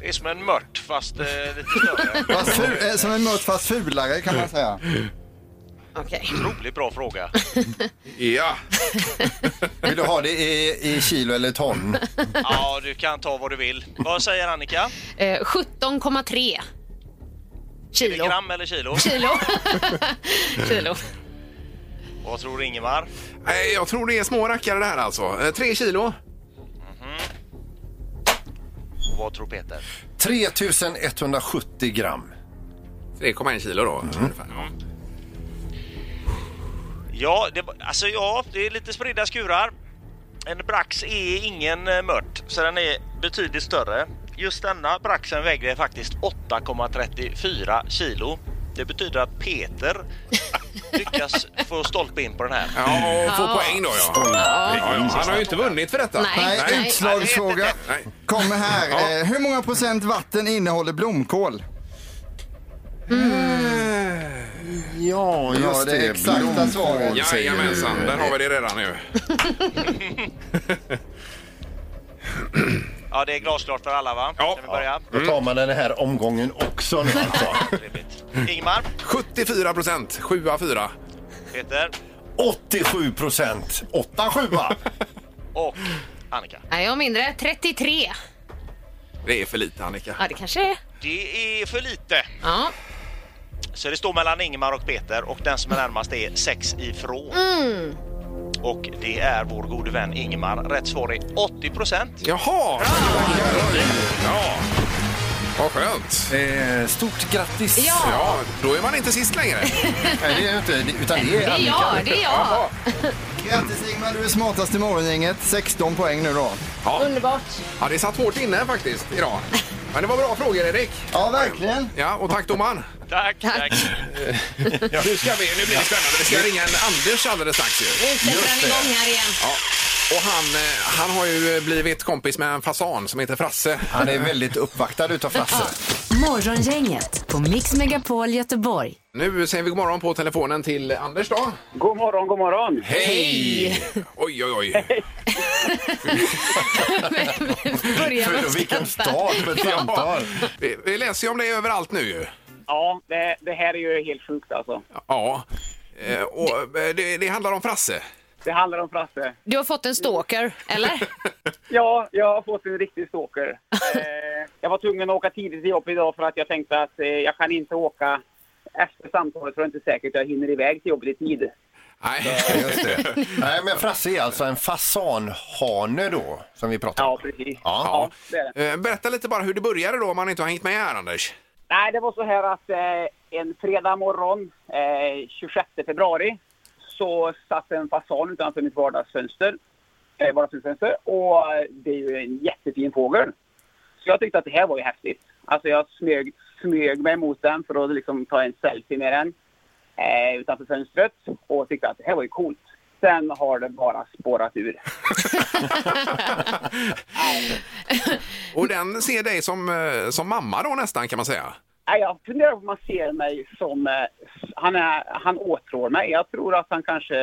[SPEAKER 1] Det är som en mört fast eh, lite större.
[SPEAKER 4] Fast fu- eh, som en mört fast fulare kan man säga.
[SPEAKER 6] Okej.
[SPEAKER 1] Otroligt bra fråga.
[SPEAKER 3] Ja.
[SPEAKER 5] Vill du ha det i, i kilo eller ton?
[SPEAKER 1] Ja, du kan ta vad du vill. Vad säger Annika?
[SPEAKER 6] Eh, 17,3.
[SPEAKER 1] Är det
[SPEAKER 6] Kilo.
[SPEAKER 1] gram eller kilo?
[SPEAKER 6] Kilo. Kilo.
[SPEAKER 1] Vad tror Ingemar?
[SPEAKER 3] Nej, jag tror det är små rackare det här alltså. Eh, Tre kilo.
[SPEAKER 1] Och vad tror Peter?
[SPEAKER 5] 3170 gram. Mm.
[SPEAKER 3] 3,1 kilo då. ungefär. Ja.
[SPEAKER 1] Ja, det, alltså ja, det är lite spridda skurar. En brax är ingen eh, mört, så den är betydligt större. Just denna braxen vägde faktiskt 8,34 kilo. Det betyder att Peter lyckas få stolpe in på den här.
[SPEAKER 3] Ja, och få poäng då ja. ja. ja. Han har ju inte vunnit för detta.
[SPEAKER 6] Nej.
[SPEAKER 4] Nej,
[SPEAKER 6] Nej.
[SPEAKER 4] utslagsfråga
[SPEAKER 3] Nej.
[SPEAKER 4] kommer här. Eh, Hur många procent vatten innehåller blomkål?
[SPEAKER 5] Mm. Ja,
[SPEAKER 4] just det är exakta
[SPEAKER 5] Blomkål,
[SPEAKER 4] svaret.
[SPEAKER 5] säger
[SPEAKER 3] Jajamensan,
[SPEAKER 5] du.
[SPEAKER 3] där har vi det redan nu.
[SPEAKER 1] Ja, det är glasklart för alla va?
[SPEAKER 3] Ja. Mm.
[SPEAKER 1] Kan vi börja?
[SPEAKER 5] Då tar man den här omgången också nu alltså.
[SPEAKER 1] Trevligt. Ingmar,
[SPEAKER 3] 74 procent, 7 av 4.
[SPEAKER 1] Peter
[SPEAKER 5] 87 procent. 87 va?
[SPEAKER 1] och Annika.
[SPEAKER 6] Nej, jag har mindre. 33.
[SPEAKER 3] Det är för lite Annika.
[SPEAKER 6] Ja, det kanske är.
[SPEAKER 1] Det är för lite.
[SPEAKER 6] Ja.
[SPEAKER 1] Så det står mellan Ingmar och Peter och den som är närmast är sex ifrån.
[SPEAKER 6] Mm.
[SPEAKER 1] Och det är vår gode vän Ingmar. Rätt svar är 80 procent.
[SPEAKER 3] Jaha! Ja. Vad skönt.
[SPEAKER 5] Eh, stort grattis.
[SPEAKER 6] Ja.
[SPEAKER 3] Ja, då är man inte sist längre.
[SPEAKER 5] Nej, det är ju inte, utan det
[SPEAKER 6] Det
[SPEAKER 5] är
[SPEAKER 6] är
[SPEAKER 5] Annika.
[SPEAKER 6] jag, det är jag.
[SPEAKER 4] Grattis Ingmar, du är smartast i morgongänget. 16 poäng nu då.
[SPEAKER 6] Underbart.
[SPEAKER 3] Ja, det satt hårt inne faktiskt idag. Men det var bra frågor Erik.
[SPEAKER 4] Ja, verkligen.
[SPEAKER 3] Ja, och tack domaren.
[SPEAKER 1] Tack, tack.
[SPEAKER 3] Nu ska vi, nu blir det spännande. Vi ska ringa en Anders alldeles strax ju.
[SPEAKER 6] Nu sätter han igång här igen.
[SPEAKER 3] Ja. Och han, eh, han har ju blivit kompis med en fasan som heter Frasse.
[SPEAKER 5] Han är väldigt uppvaktad utav Frasse.
[SPEAKER 2] Morgongänget på Mix Megapol Göteborg.
[SPEAKER 3] Nu säger vi god morgon på telefonen till Anders då.
[SPEAKER 7] God morgon, god morgon.
[SPEAKER 3] Hej! Oj, oj, oj.
[SPEAKER 6] Börja med
[SPEAKER 5] För
[SPEAKER 6] att
[SPEAKER 5] vilken
[SPEAKER 6] skratta.
[SPEAKER 5] start på ett samtal.
[SPEAKER 3] Vi, vi läser ju om det överallt nu ju.
[SPEAKER 7] Ja, det, det här är ju helt sjukt alltså.
[SPEAKER 3] Ja. Eh, Och eh, det, det handlar om Frasse.
[SPEAKER 7] Det handlar om Frasse.
[SPEAKER 6] Du har fått en stalker, eller?
[SPEAKER 7] Ja, jag har fått en riktig stalker. Eh, jag var tvungen att åka tidigt till jobbet idag för att jag tänkte att eh, jag kan inte åka efter samtalet för det är inte säkert att jag hinner iväg till jobbet i tid. Eh,
[SPEAKER 3] Nej.
[SPEAKER 5] Just det. Nej, men Frasse är alltså en fasanhane då, som vi pratar om.
[SPEAKER 7] Ja, precis.
[SPEAKER 5] Ja.
[SPEAKER 7] det är det.
[SPEAKER 3] Eh, Berätta lite bara hur det började då om man inte har hängt med här Anders.
[SPEAKER 7] Nej, det var så här att eh, en fredag morgon, eh, 26 februari, så satt en fasan utanför mitt vardagsfönster. Eh, vardagsfönster och eh, det är ju en jättefin fågel. Så jag tyckte att det här var ju häftigt. Alltså jag smög, smög mig mot den för att liksom ta en selfie med den eh, utanför fönstret och tyckte att det här var ju coolt. Sen har det bara spårat ur.
[SPEAKER 3] Och den ser dig som, eh, som mamma då nästan kan man säga.
[SPEAKER 7] Nej, jag funderar på om man ser mig som... eh, Han, är, han åtrår mig. Jag tror att han kanske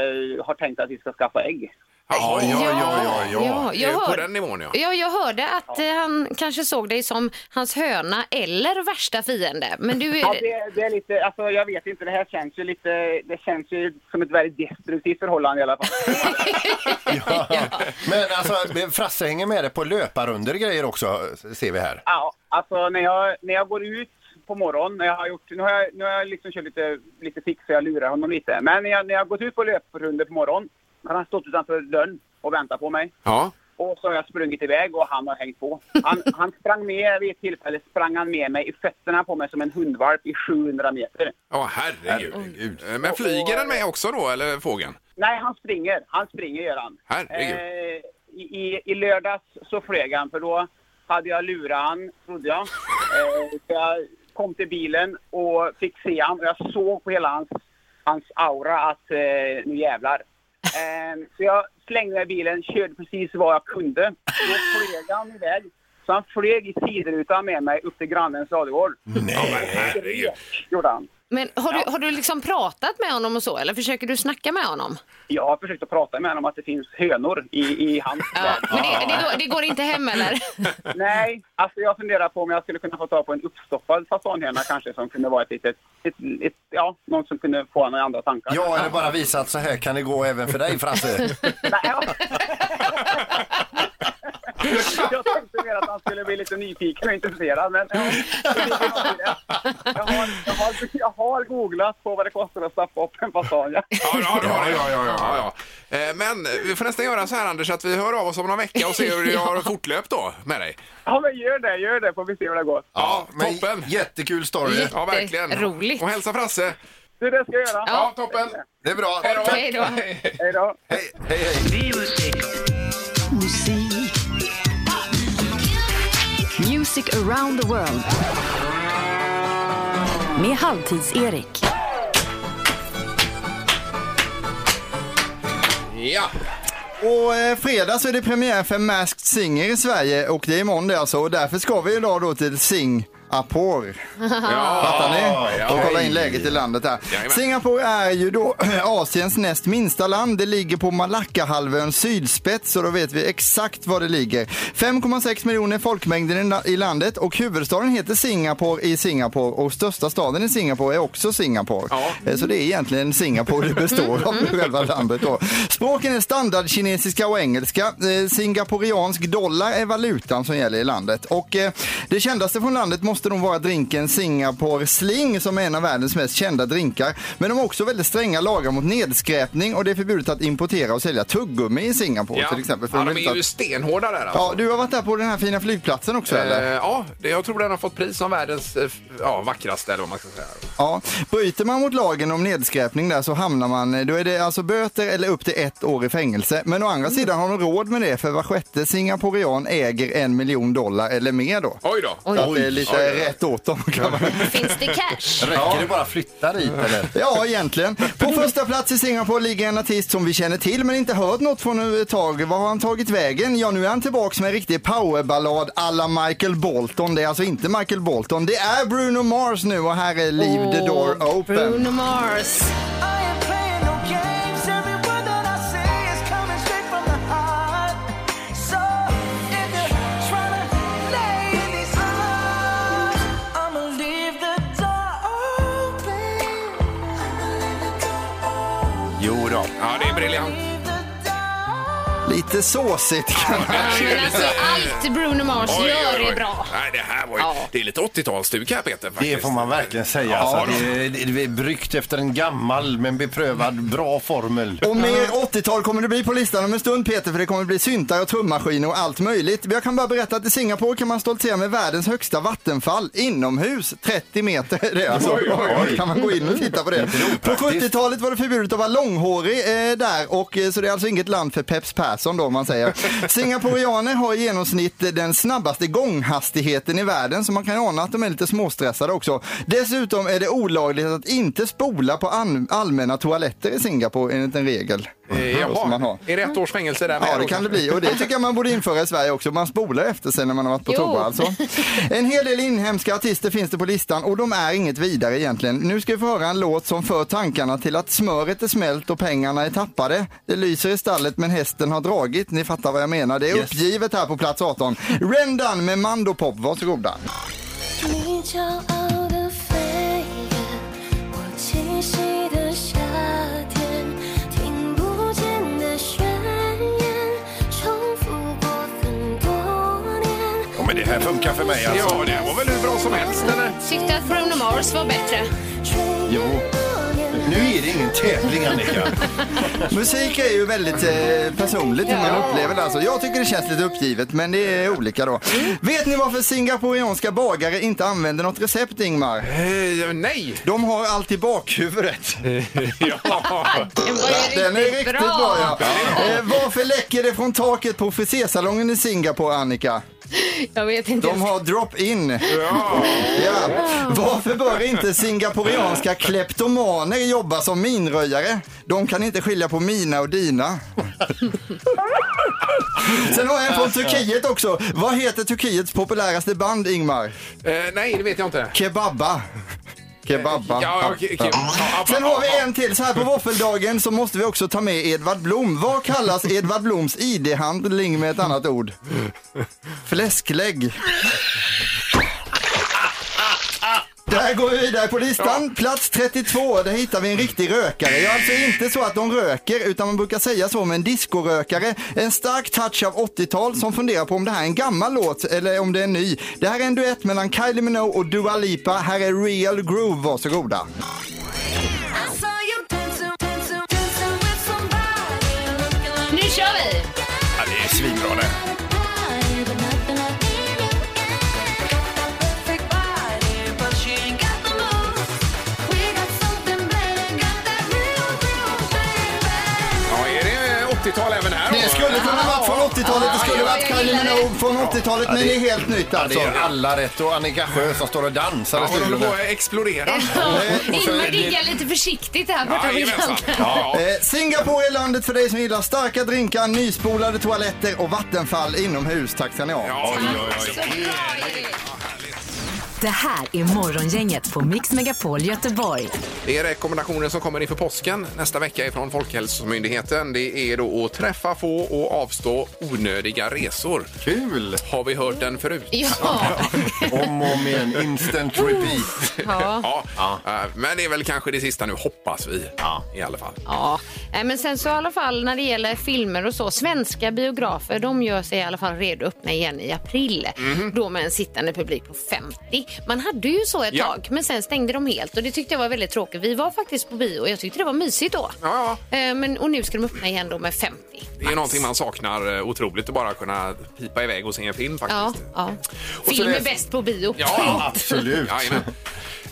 [SPEAKER 7] har tänkt att vi ska skaffa ägg.
[SPEAKER 3] Ja,
[SPEAKER 6] ja, jag
[SPEAKER 3] Eh, På
[SPEAKER 6] hör-
[SPEAKER 3] den nivån ja.
[SPEAKER 6] Ja, jag hörde att eh, han kanske såg dig som hans höna eller värsta fiende. Men du
[SPEAKER 7] Ja,
[SPEAKER 6] är...
[SPEAKER 7] det, det är lite... Alltså, jag vet inte. Det här känns ju lite... Det känns ju som ett väldigt destruktivt förhållande i alla fall.
[SPEAKER 5] Ja. Men alltså, Frasse hänger med dig på löparunder och grejer också, ser vi här.
[SPEAKER 7] Ja, alltså när jag, när jag går ut på morgonen, när jag har gjort... Nu har jag, nu har jag liksom kört lite, lite fix så jag lurar honom lite. Men när jag, när jag har gått ut på löprundor på morgonen har han stått utanför dörren och väntat på mig.
[SPEAKER 3] ja.
[SPEAKER 7] Och så har jag sprungit iväg och han har hängt på. Han, han sprang med vid ett tillfälle, sprang han med mig i fötterna på mig som en hundvalp i 700 meter.
[SPEAKER 3] Ja, herregud.
[SPEAKER 5] Herregud.
[SPEAKER 3] Eh, Men flyger den med också då, eller fågeln?
[SPEAKER 7] Nej, han springer. Han springer gör han.
[SPEAKER 3] Herregud.
[SPEAKER 7] Eh, i, i, I lördags så flög han för då hade jag lurat han, trodde jag. Eh, så jag kom till bilen och fick se han och jag såg på hela hans, hans aura att eh, nu jävlar. Eh, så jag slängde mig i bilen, körde precis vad jag kunde. Då flög han iväg. Så han flög i sidrutan med mig upp till grannens ladugård.
[SPEAKER 5] Nej.
[SPEAKER 3] Herregud.
[SPEAKER 7] Gjorde han.
[SPEAKER 6] Men har du, har du liksom pratat med honom och så, eller försöker du snacka med honom?
[SPEAKER 7] Jag har försökt att prata med honom om att det finns hönor i, i hans
[SPEAKER 6] Ja,
[SPEAKER 7] värld.
[SPEAKER 6] men det, det, går, det går inte hem, eller?
[SPEAKER 7] Nej, alltså jag funderar på om jag skulle kunna få tag på en uppstoppad fasanhjärna kanske som kunde vara ett litet, ett, ett, ja, någon som kunde få honom i andra tankar.
[SPEAKER 5] Ja, eller bara visa att så här kan det gå även för dig, Frasse.
[SPEAKER 7] Nej, ja. jag tänkte mer att han skulle bli lite nyfiken och intresserad. Men, ja, det ligger något i det. jag, har, jag, har, jag har googlat på vad det kostar att stappa upp en fasan. Ja.
[SPEAKER 3] Ja, ja, ja, ja, ja, ja, ja. Eh, Men vi får nästan göra så här Anders att vi hör av oss om någon vecka och ser hur det har fortlöpt då med dig.
[SPEAKER 7] ja, men gör det, gör det får vi se hur det går.
[SPEAKER 3] Ja, toppen!
[SPEAKER 5] Jättekul story.
[SPEAKER 3] Ja, verkligen.
[SPEAKER 6] Jätteroligt.
[SPEAKER 3] Och hälsa Frasse.
[SPEAKER 7] Du, det ska jag göra.
[SPEAKER 3] Ja, toppen!
[SPEAKER 5] Det är bra.
[SPEAKER 3] Hej då.
[SPEAKER 6] Hej då.
[SPEAKER 7] Hej då.
[SPEAKER 5] Hej, hej, hej.
[SPEAKER 2] Music around the world. Med Halvtids-Erik.
[SPEAKER 3] Ja,
[SPEAKER 4] Och eh, fredag så är det premiär för Masked Singer i Sverige och det är imorgon det alltså och därför ska vi idag då till Singapore. Fattar ni? Och kolla in läget i landet där.
[SPEAKER 3] Jajamän.
[SPEAKER 4] Singapore är ju då eh, Asiens näst minsta land. Det ligger på Malackahalvöns sydspets och då vet vi exakt var det ligger. 5,6 miljoner folkmängden i la- i landet och huvudstaden heter Singapore i Singapore och största staden i Singapore är också Singapore. Eh, Så det är egentligen Singapore det består av, själva landet då. Språken är standardkinesiska och engelska. Eh, Singaporeansk dollar är valutan som gäller i landet. Och eh, det kändaste från landet måste nog vara drinken Singapore Sling som är en av världens mest kända drinkar. Men de har också väldigt stränga lagar mot nedskräpning och det är förbjudet att importera och sälja tuggummi i Singapore
[SPEAKER 3] ja.
[SPEAKER 4] till exempel. För
[SPEAKER 3] ja
[SPEAKER 4] de vill
[SPEAKER 3] de
[SPEAKER 4] inte
[SPEAKER 3] är ju
[SPEAKER 4] att-
[SPEAKER 3] stenhårda där alltså.
[SPEAKER 4] ja, du har varit där på den här fina flygplatsen också eller?
[SPEAKER 3] Eh, Ja, det, jag tror den har fått pris som världens eh, f- ja, vackraste eller vad man ska säga.
[SPEAKER 4] Ja, bryter man mot lagen om nedskräpning där så hamnar man, då är det alltså böter eller upp till ett år i fängelse. Men å andra
[SPEAKER 6] Mm.
[SPEAKER 4] sidan har de råd med det för var sjätte singaporean äger en miljon dollar eller mer då.
[SPEAKER 3] Oj då!
[SPEAKER 4] Så att det är lite
[SPEAKER 3] Oj.
[SPEAKER 4] rätt åt dem kan man
[SPEAKER 6] Finns det cash?
[SPEAKER 5] Räcker det bara att flytta dit eller?
[SPEAKER 4] Ja, egentligen. På första plats i Singapore ligger en artist som vi känner till men inte hört något från nu ett tag. Var har han tagit vägen? Ja, nu är han tillbaks med en riktig powerballad alla Michael Bolton. Det är alltså inte Michael Bolton. Det är Bruno Mars nu och här är Leave the Door Open.
[SPEAKER 6] Bruno Mars.
[SPEAKER 5] Jo då.
[SPEAKER 3] Ja, det är briljant.
[SPEAKER 4] Lite såsigt kan man
[SPEAKER 6] Men alltså allt Bruno Mars
[SPEAKER 3] Oj,
[SPEAKER 6] gör
[SPEAKER 3] oj, oj.
[SPEAKER 6] är bra.
[SPEAKER 3] Nej, det här var ju...
[SPEAKER 6] Ja.
[SPEAKER 3] Det är lite 80-talsstuk här Peter. Faktiskt.
[SPEAKER 5] Det får man verkligen säga.
[SPEAKER 3] Ja,
[SPEAKER 5] alltså, det, det, det är bryggt efter en gammal men beprövad bra formel.
[SPEAKER 4] Och mer 80-tal kommer det bli på listan om en stund Peter för det kommer bli syntar och trummaskiner och allt möjligt. Jag kan bara berätta att i Singapore kan man stoltsera med världens högsta vattenfall inomhus. 30 meter är det alltså. Kan man gå in och titta på det. På
[SPEAKER 5] opraktiskt.
[SPEAKER 4] 70-talet var det förbjudet att vara långhårig eh, där och eh, så det är alltså inget land för Peps Persson då om man säger. Singaporeaner har i genomsnitt eh, den snabbaste gånghastigheten i världen så man kan ju ana att de är lite småstressade också. Dessutom är det olagligt att inte spola på an- allmänna toaletter i Singapore enligt en regel.
[SPEAKER 3] Eh,
[SPEAKER 4] Då som man
[SPEAKER 3] Jaha,
[SPEAKER 4] har.
[SPEAKER 3] är det ett års fängelse där med
[SPEAKER 4] Ja, det
[SPEAKER 3] då,
[SPEAKER 4] kan det
[SPEAKER 3] kanske?
[SPEAKER 4] bli. Och det tycker jag man borde införa i Sverige också. Man spolar efter sig när man har varit på
[SPEAKER 6] Jo.
[SPEAKER 4] toa alltså. En hel del inhemska artister finns det på listan och de är inget vidare egentligen. Nu ska vi få höra en låt som för tankarna till att smöret är smält och pengarna är tappade. Det lyser i stallet men hästen har dragit. Ni fattar vad jag menar. Det är uppgivet här på plats 18. Rendan med Mandopop. Varsågoda.
[SPEAKER 10] 你骄傲的飞燕，我栖息的夏天，听不见的宣言，重复过很多年。
[SPEAKER 5] Ja, men det här funkar för mig alltså.
[SPEAKER 3] Ja, det var väl hur bra som helst eller?
[SPEAKER 6] Tyckte att Bruno Mars var bättre.
[SPEAKER 5] Jo. Nu är det ingen tävling Annika.
[SPEAKER 4] Musik är ju väldigt eh, personligt hur man upplever det. Alltså. Jag tycker det känns lite uppgivet, men det är olika då.
[SPEAKER 3] Mm.
[SPEAKER 4] Vet ni varför singaporeanska bagare inte använder något recept, Ingmar?
[SPEAKER 3] Eh, nej!
[SPEAKER 4] De har allt i bakhuvudet.
[SPEAKER 3] Ja.
[SPEAKER 6] Den var ju
[SPEAKER 4] Den är
[SPEAKER 6] riktigt,
[SPEAKER 4] riktigt
[SPEAKER 6] bra.
[SPEAKER 4] bra, ja. Eh, varför läcker det från taket på frisersalongen i Singapore, Annika?
[SPEAKER 6] Jag vet inte.
[SPEAKER 4] De har drop-in.
[SPEAKER 3] Ja.
[SPEAKER 4] Ja. Varför bör inte singaporeanska kleptomaner jobba som minröjare? De kan inte skilja på mina och dina. Sen har jag en från Turkiet också. Vad heter Turkiets populäraste band, Ingmar?
[SPEAKER 3] Eh, nej, det vet jag inte. Eh,
[SPEAKER 4] Kebabba. Kebabba.
[SPEAKER 3] Ja, okej, okej. Ja, ja,
[SPEAKER 4] Sen har vi
[SPEAKER 3] ja,
[SPEAKER 4] en till. Så här på våffeldagen så måste vi också ta med Edvard Blom. Vad kallas Edvard Bloms ID-handling med ett annat ord? Fläsklägg. Där går vi vidare på listan. Plats 32, där hittar vi en riktig rökare. Ja, alltså inte så att de röker, utan man brukar säga så med en discorökare. En stark touch av 80-tal som funderar på om det här är en gammal låt eller om det är en ny. Det här är en duett mellan Kylie Minogue och Dua Lipa. Här är Real Groove, varsågoda.
[SPEAKER 10] I saw you dancing, dancing, dancing with somebody looking like
[SPEAKER 6] Nu kör vi!
[SPEAKER 3] Ja, det är svinbra det.
[SPEAKER 10] nobody, but nothing like any guy. Got that perfect body, but she ain't got the moves. We got something better, got that real groove, baby.
[SPEAKER 3] Ja, är det 80-tal även här?
[SPEAKER 4] Det skulle kunna varit från 80-talet, det skulle
[SPEAKER 6] Ja,
[SPEAKER 4] varit
[SPEAKER 6] jag
[SPEAKER 4] Kylie
[SPEAKER 6] gillar det.
[SPEAKER 4] Minogue från 80-talet, men det är helt nytt alltså.
[SPEAKER 5] Alltså, alla rätt och Annika Sjö som står och dansar i
[SPEAKER 3] Ja, de håller
[SPEAKER 5] studion.
[SPEAKER 3] på att explodera.
[SPEAKER 6] Ingmar diggar lite försiktigt här borta vid
[SPEAKER 3] Jajamensan.
[SPEAKER 6] kanten.
[SPEAKER 3] Ja,
[SPEAKER 4] Eh, Singapore är landet för dig som gillar starka drinkar, nyspolade toaletter och vattenfall inomhus. Tack ska ni ha.
[SPEAKER 3] ja. Oj, oj, oj.
[SPEAKER 6] Så bra Erik.
[SPEAKER 2] Det här är Morgongänget på Mix Megapol Göteborg.
[SPEAKER 3] Det är rekommendationer som kommer inför påsken nästa vecka ifrån Folkhälsomyndigheten. Det är då att träffa få och avstå onödiga resor.
[SPEAKER 5] Kul!
[SPEAKER 3] Har vi hört den förut?
[SPEAKER 6] Ja.
[SPEAKER 5] Om och om igen, instant repeat.
[SPEAKER 6] ja.
[SPEAKER 3] Ja. Eh, Men det är väl kanske det sista nu, hoppas vi. I alla fall.
[SPEAKER 6] Ja, Nej, men sen så i alla fall när det gäller filmer och så, svenska biografer de gör sig i alla fall redo att öppna igen i april.
[SPEAKER 3] Mhm.
[SPEAKER 6] Då med en sittande publik på 50. Man hade ju så ett
[SPEAKER 3] Ja.
[SPEAKER 6] tag, men sen stängde de helt och det tyckte jag var väldigt tråkigt. Vi var faktiskt på bio och jag tyckte det var mysigt då.
[SPEAKER 3] Ja,
[SPEAKER 6] Eh, Men, och nu ska de öppna igen då med 50.
[SPEAKER 3] Det är någonting man saknar eh, otroligt att bara kunna pipa iväg och se en film
[SPEAKER 6] Ja,
[SPEAKER 3] faktiskt.
[SPEAKER 6] ja.
[SPEAKER 5] så
[SPEAKER 6] Film är
[SPEAKER 5] läs-
[SPEAKER 6] bäst på bio.
[SPEAKER 3] Ja,
[SPEAKER 5] Absolut.
[SPEAKER 3] Jajamän.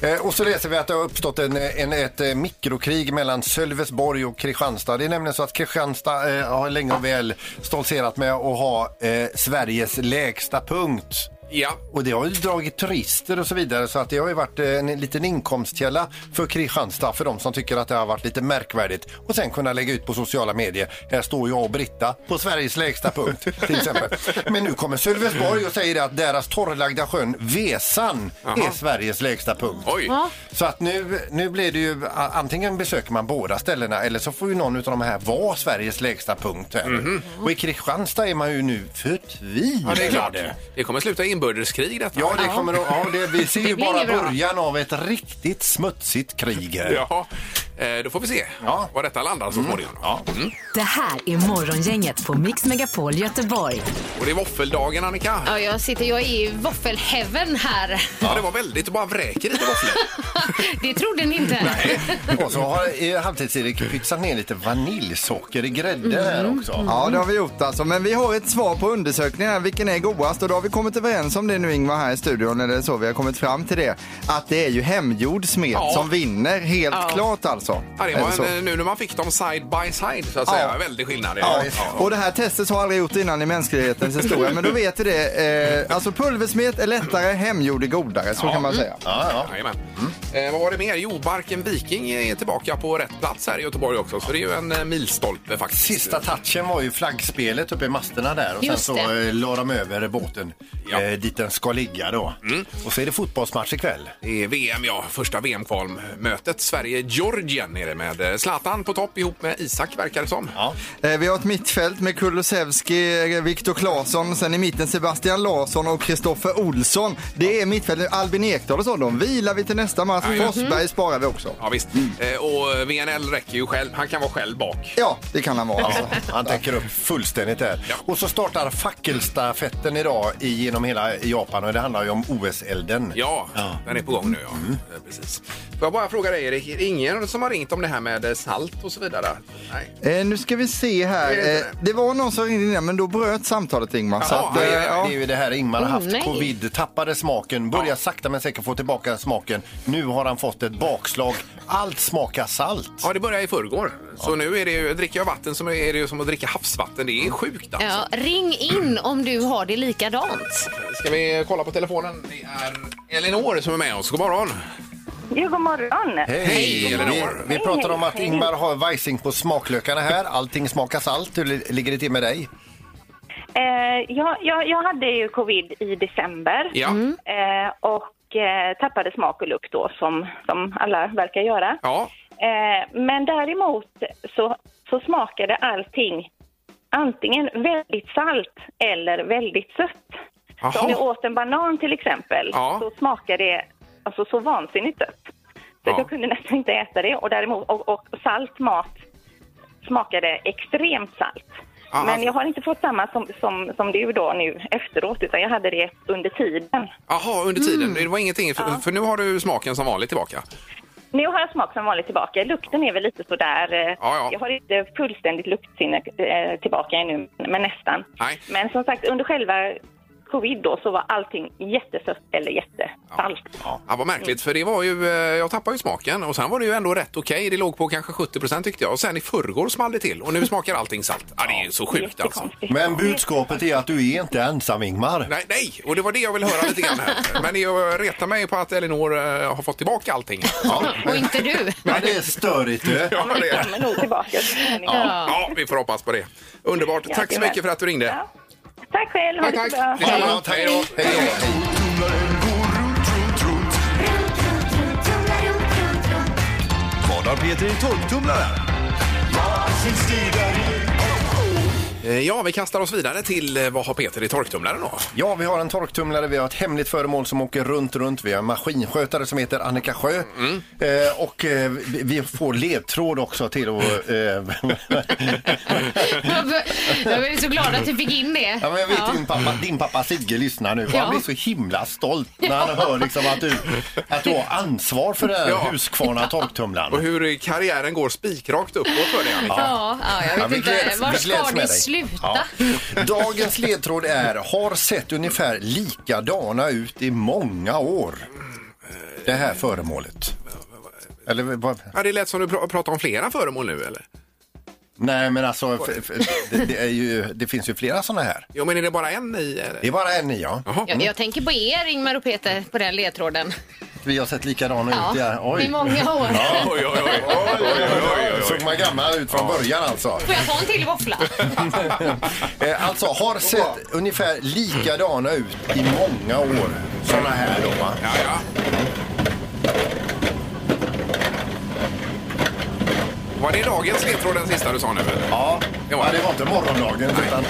[SPEAKER 5] Eh, Och så läser vi att det har uppstått en, en, ett eh, mikrokrig mellan Sölvesborg och Kristianstad. Det är nämligen så att Kristianstad eh, har länge och väl stoltserat med att ha eh, Sveriges lägsta punkt.
[SPEAKER 3] ja.
[SPEAKER 5] Och det har ju dragit turister och så vidare så att det har ju varit eh, en liten inkomstkälla för Kristianstad för de som tycker att det har varit lite märkvärdigt och sen kunna lägga ut på sociala medier. Här står jag och Britta på Sveriges lägsta punkt till exempel. Men nu kommer Sölvesborg och säger att deras torrlagda sjön Vesan är Sveriges lägsta punkt.
[SPEAKER 3] Oj.
[SPEAKER 5] Så att nu, nu blir det ju a- antingen besöker man båda ställena eller så får ju någon av de här vara Sveriges lägsta punkt. Här. Och i Kristianstad är man ju nu förtvivlad.
[SPEAKER 3] Mhm. ja, det är klart. Det kommer sluta i inbördeskrig detta.
[SPEAKER 5] Ja, det kommer att, ja, det, vi ser ju
[SPEAKER 6] blir
[SPEAKER 5] bara
[SPEAKER 6] inget bra.
[SPEAKER 5] början av ett riktigt smutsigt krig här.
[SPEAKER 3] Ja, eh, då får vi se
[SPEAKER 5] Ja.
[SPEAKER 3] var detta landar så småningom. Ja. Mm.
[SPEAKER 2] Det här är Morgongänget på Mix Megapol Göteborg.
[SPEAKER 3] Och det är våffeldagen, Annika.
[SPEAKER 6] Ja, jag, sitter, jag är i våffelheaven här.
[SPEAKER 3] Ja, det var väldigt. Du bara vräker lite våfflor.
[SPEAKER 6] Det trodde ni inte.
[SPEAKER 5] Och så har eh, Halvtids-Erik pytsat ner lite vaniljsocker i grädden
[SPEAKER 2] Mm.
[SPEAKER 5] här också.
[SPEAKER 4] Mhm. Ja, det har vi gjort alltså. Men vi har ett svar på undersökningen här, vilken är godast? Och då har vi kommit överens om det nu Ingvar här i studion, eller så, vi har kommit fram till det. Att det är ju hemgjord smet
[SPEAKER 3] Ja.
[SPEAKER 4] som vinner, helt
[SPEAKER 6] Ja.
[SPEAKER 4] klart alltså.
[SPEAKER 3] Ja, det
[SPEAKER 4] Eller så.
[SPEAKER 3] var
[SPEAKER 5] eh,
[SPEAKER 3] en, nu när man fick dem side by side, så att säga.
[SPEAKER 4] Ja.
[SPEAKER 3] Väldig skillnad.
[SPEAKER 4] Ja,
[SPEAKER 3] Ja. Ja.
[SPEAKER 4] och det här testet har aldrig gjort innan i mänsklighetens historia, men då vet vi det. Eh, alltså pulversmet är lättare, hemgjord är godare, så kan man säga.
[SPEAKER 5] Ja, Mm.
[SPEAKER 3] Mm. Jajamän. Eh, vad var det mer? Jo, Barken Viking är tillbaka på rätt plats här i Göteborg också, så det är ju en eh, milstolpe faktiskt.
[SPEAKER 5] Sista touchen var ju flaggspelet uppe i masterna där och
[SPEAKER 6] Just
[SPEAKER 5] sen så
[SPEAKER 6] det.
[SPEAKER 5] eh, la de över båten
[SPEAKER 3] Ja.
[SPEAKER 5] eh, dit den ska ligga då.
[SPEAKER 4] Mm.
[SPEAKER 5] Och så är det fotbollsmatch ikväll.
[SPEAKER 3] Det är VM, ja. Första VM-kvalmötet. Sverige-Georgien är det med eh, Zlatan på topp ihop med Isak, verkar det som.
[SPEAKER 5] Ja.
[SPEAKER 4] Eh, Vi har ett mittfält med Kulusevski, eh, Viktor Claesson, sen i mitten Sebastian Larsson och Kristoffer Olsson. Det är mittfältet. Albin Ekdal och så, de vilar vi till nästa match.
[SPEAKER 3] Ja, ja.
[SPEAKER 4] Forsberg sparar vi också.
[SPEAKER 3] Ja, visst. Eh, och VNL räcker ju själv. Han kan vara själv bak.
[SPEAKER 4] Ja, det kan han vara. Alltså.
[SPEAKER 5] Han täcker upp fullständigt där. Och så startar fackelstafetten idag i- genom hela Japan och det handlar ju om OS-elden.
[SPEAKER 3] Ja, den är på gång nu. Ja. Eh, Precis. Får jag bara fråga dig, Erik, är det ingen som har ringt om det här med eh, salt och så vidare? Nej.
[SPEAKER 4] Eh, nu ska vi se här.
[SPEAKER 3] Är det
[SPEAKER 4] Eh,
[SPEAKER 3] inte det?
[SPEAKER 4] det var någon som ringde innan, men då bröt samtalet Ingmar. Så
[SPEAKER 3] Jaha,
[SPEAKER 4] att,
[SPEAKER 5] Det,
[SPEAKER 4] eh,
[SPEAKER 3] aj, aj,
[SPEAKER 4] ja.
[SPEAKER 5] det är ju det här Ingmar har
[SPEAKER 6] Oh,
[SPEAKER 5] haft.
[SPEAKER 6] nej.
[SPEAKER 5] Covid tappade smaken, börjar sakta men säkert få tillbaka smaken. Nu har han fått ett bakslag. Allt smakar salt.
[SPEAKER 3] Ja, det började i förrgår. Så nu är det ju, dricker jag vatten så är det ju som att dricka havsvatten. Det är sjukt alltså.
[SPEAKER 6] Ja, ring in om du har det likadant.
[SPEAKER 3] alltså. Ska vi Eh, kolla på telefonen? Det är Elinor som är med oss. God morgon!
[SPEAKER 8] Jo, god morgon.
[SPEAKER 3] Hej,
[SPEAKER 5] vi,
[SPEAKER 3] Elinor.
[SPEAKER 5] vi pratar om att Ingmar har vajsing på smaklökarna här. Allting smakar salt. Hur li- ligger det till med dig?
[SPEAKER 8] Eh, jag, jag, jag hade ju covid i december
[SPEAKER 3] Ja.
[SPEAKER 8] eh, och eh, tappade smak och lukt då som, som alla verkar göra.
[SPEAKER 3] Ja.
[SPEAKER 8] Eh, men däremot så, så smakade allting antingen väldigt salt eller väldigt sött. Så
[SPEAKER 3] Jaha.
[SPEAKER 8] om jag åt en banan till exempel
[SPEAKER 3] Ja.
[SPEAKER 8] så smakade det alltså så vansinnigt dött. Så
[SPEAKER 3] Ja.
[SPEAKER 8] att jag kunde nästan inte äta det och däremot och, och salt mat smakade extremt salt.
[SPEAKER 3] Ja,
[SPEAKER 8] Men
[SPEAKER 3] alltså-
[SPEAKER 8] jag har inte fått samma som, som, som du då nu efteråt utan jag hade det under tiden.
[SPEAKER 3] Jaha, under tiden. Det var ingenting, för, för nu har du smaken som vanligt tillbaka.
[SPEAKER 8] Nu har jag smak som vanligt tillbaka. Lukten är väl lite sådär... eh,
[SPEAKER 3] Ja, ja.
[SPEAKER 8] Jag har inte fullständigt luktsinne eh, tillbaka ännu, men nästan.
[SPEAKER 3] Nej.
[SPEAKER 8] Men som sagt, under själva covid då så var allting jättesött eller jättesalt.
[SPEAKER 3] Ja. vad märkligt, för det var ju, eh, jag tappade ju smaken och sen var det ju ändå rätt okej. Det låg på kanske 70 procent tyckte jag och sen i förrgår small det till och nu smakar allting salt. Ja, det är ju så sjukt alltså.
[SPEAKER 8] Jättekonstigt.
[SPEAKER 5] Men budskapet är att du är inte ensam Ingmar.
[SPEAKER 3] Nej, nej, och det var det jag ville höra lite grann här. Men jag retar mig på att Elinor eh, har fått tillbaka allting. Ja,
[SPEAKER 6] Och inte du.
[SPEAKER 5] Men det är störigt du.
[SPEAKER 3] ja, det är.
[SPEAKER 8] Kommer nog tillbaka så småningom.
[SPEAKER 3] ja, vi får hoppas på det. Underbart.
[SPEAKER 8] Ja,
[SPEAKER 3] Tack så
[SPEAKER 8] tyvärr.
[SPEAKER 3] mycket för att du ringde.
[SPEAKER 8] Ja. Tack själv, ha
[SPEAKER 3] Tack,
[SPEAKER 8] det
[SPEAKER 3] tack.
[SPEAKER 8] så bra.
[SPEAKER 3] Detsamma.
[SPEAKER 5] Ja, tack.
[SPEAKER 3] Hej då.
[SPEAKER 5] Hej då.
[SPEAKER 11] Vad har Peter i torktumlaren?
[SPEAKER 3] Eh, Ja, vi kastar oss vidare till eh, vad har Peter i torktumlaren då?
[SPEAKER 5] Ja, vi har en torktumlare, vi har ett hemligt föremål som åker runt, runt. Vi har en maskinskötare som heter Annika Sjö.
[SPEAKER 3] Mm.
[SPEAKER 5] Eh, och eh, vi- vi får ledtråd också till att...
[SPEAKER 3] Mm.
[SPEAKER 5] Eh,
[SPEAKER 6] Jag är så glad att du fick in det.
[SPEAKER 5] Ja, men jag vet din, pappa, din pappa Sigge lyssnar nu och han
[SPEAKER 6] Ja.
[SPEAKER 5] blir så himla stolt när han hör liksom att, du, att du har ansvar för den här
[SPEAKER 3] Ja.
[SPEAKER 5] Husqvarna torktumlaren.
[SPEAKER 3] Och hur karriären går spikrakt uppåt för dig Annika.
[SPEAKER 6] Ja, ja,
[SPEAKER 5] Ja,
[SPEAKER 6] jag
[SPEAKER 5] vi
[SPEAKER 6] vet inte.
[SPEAKER 5] gläds-
[SPEAKER 6] Var
[SPEAKER 5] vi gläds
[SPEAKER 6] ska
[SPEAKER 5] med
[SPEAKER 6] det
[SPEAKER 5] dig.
[SPEAKER 6] sluta?
[SPEAKER 5] Ja. Dagens ledtråd är har sett ungefär likadana ut i många år. Det här föremålet. Eller vad?
[SPEAKER 3] Ja, det lät som du pra- pratar om flera föremål nu eller?
[SPEAKER 5] Nej men alltså f- f- det, det, är ju, det finns ju flera sådana här.
[SPEAKER 3] Jo, men är det bara en i? Eller?
[SPEAKER 5] Det är bara en i ja.
[SPEAKER 6] Jag, jag tänker på er, Ingmar och Peter, på den ledtråden.
[SPEAKER 5] Vi har sett likadana ut. Ja.
[SPEAKER 6] I många år.
[SPEAKER 3] Oj, oj, oj.
[SPEAKER 5] Såg man gammal ut från början alltså.
[SPEAKER 6] Får jag ta en till våffla?
[SPEAKER 5] Eh, Alltså har sett ungefär likadana ut i många år. Sådana här då va.
[SPEAKER 3] Ja, ja. Var det dagens ledtråd den sista du sa nu? eller?
[SPEAKER 5] Ja,
[SPEAKER 3] det var det.
[SPEAKER 5] det var inte morgondagen utan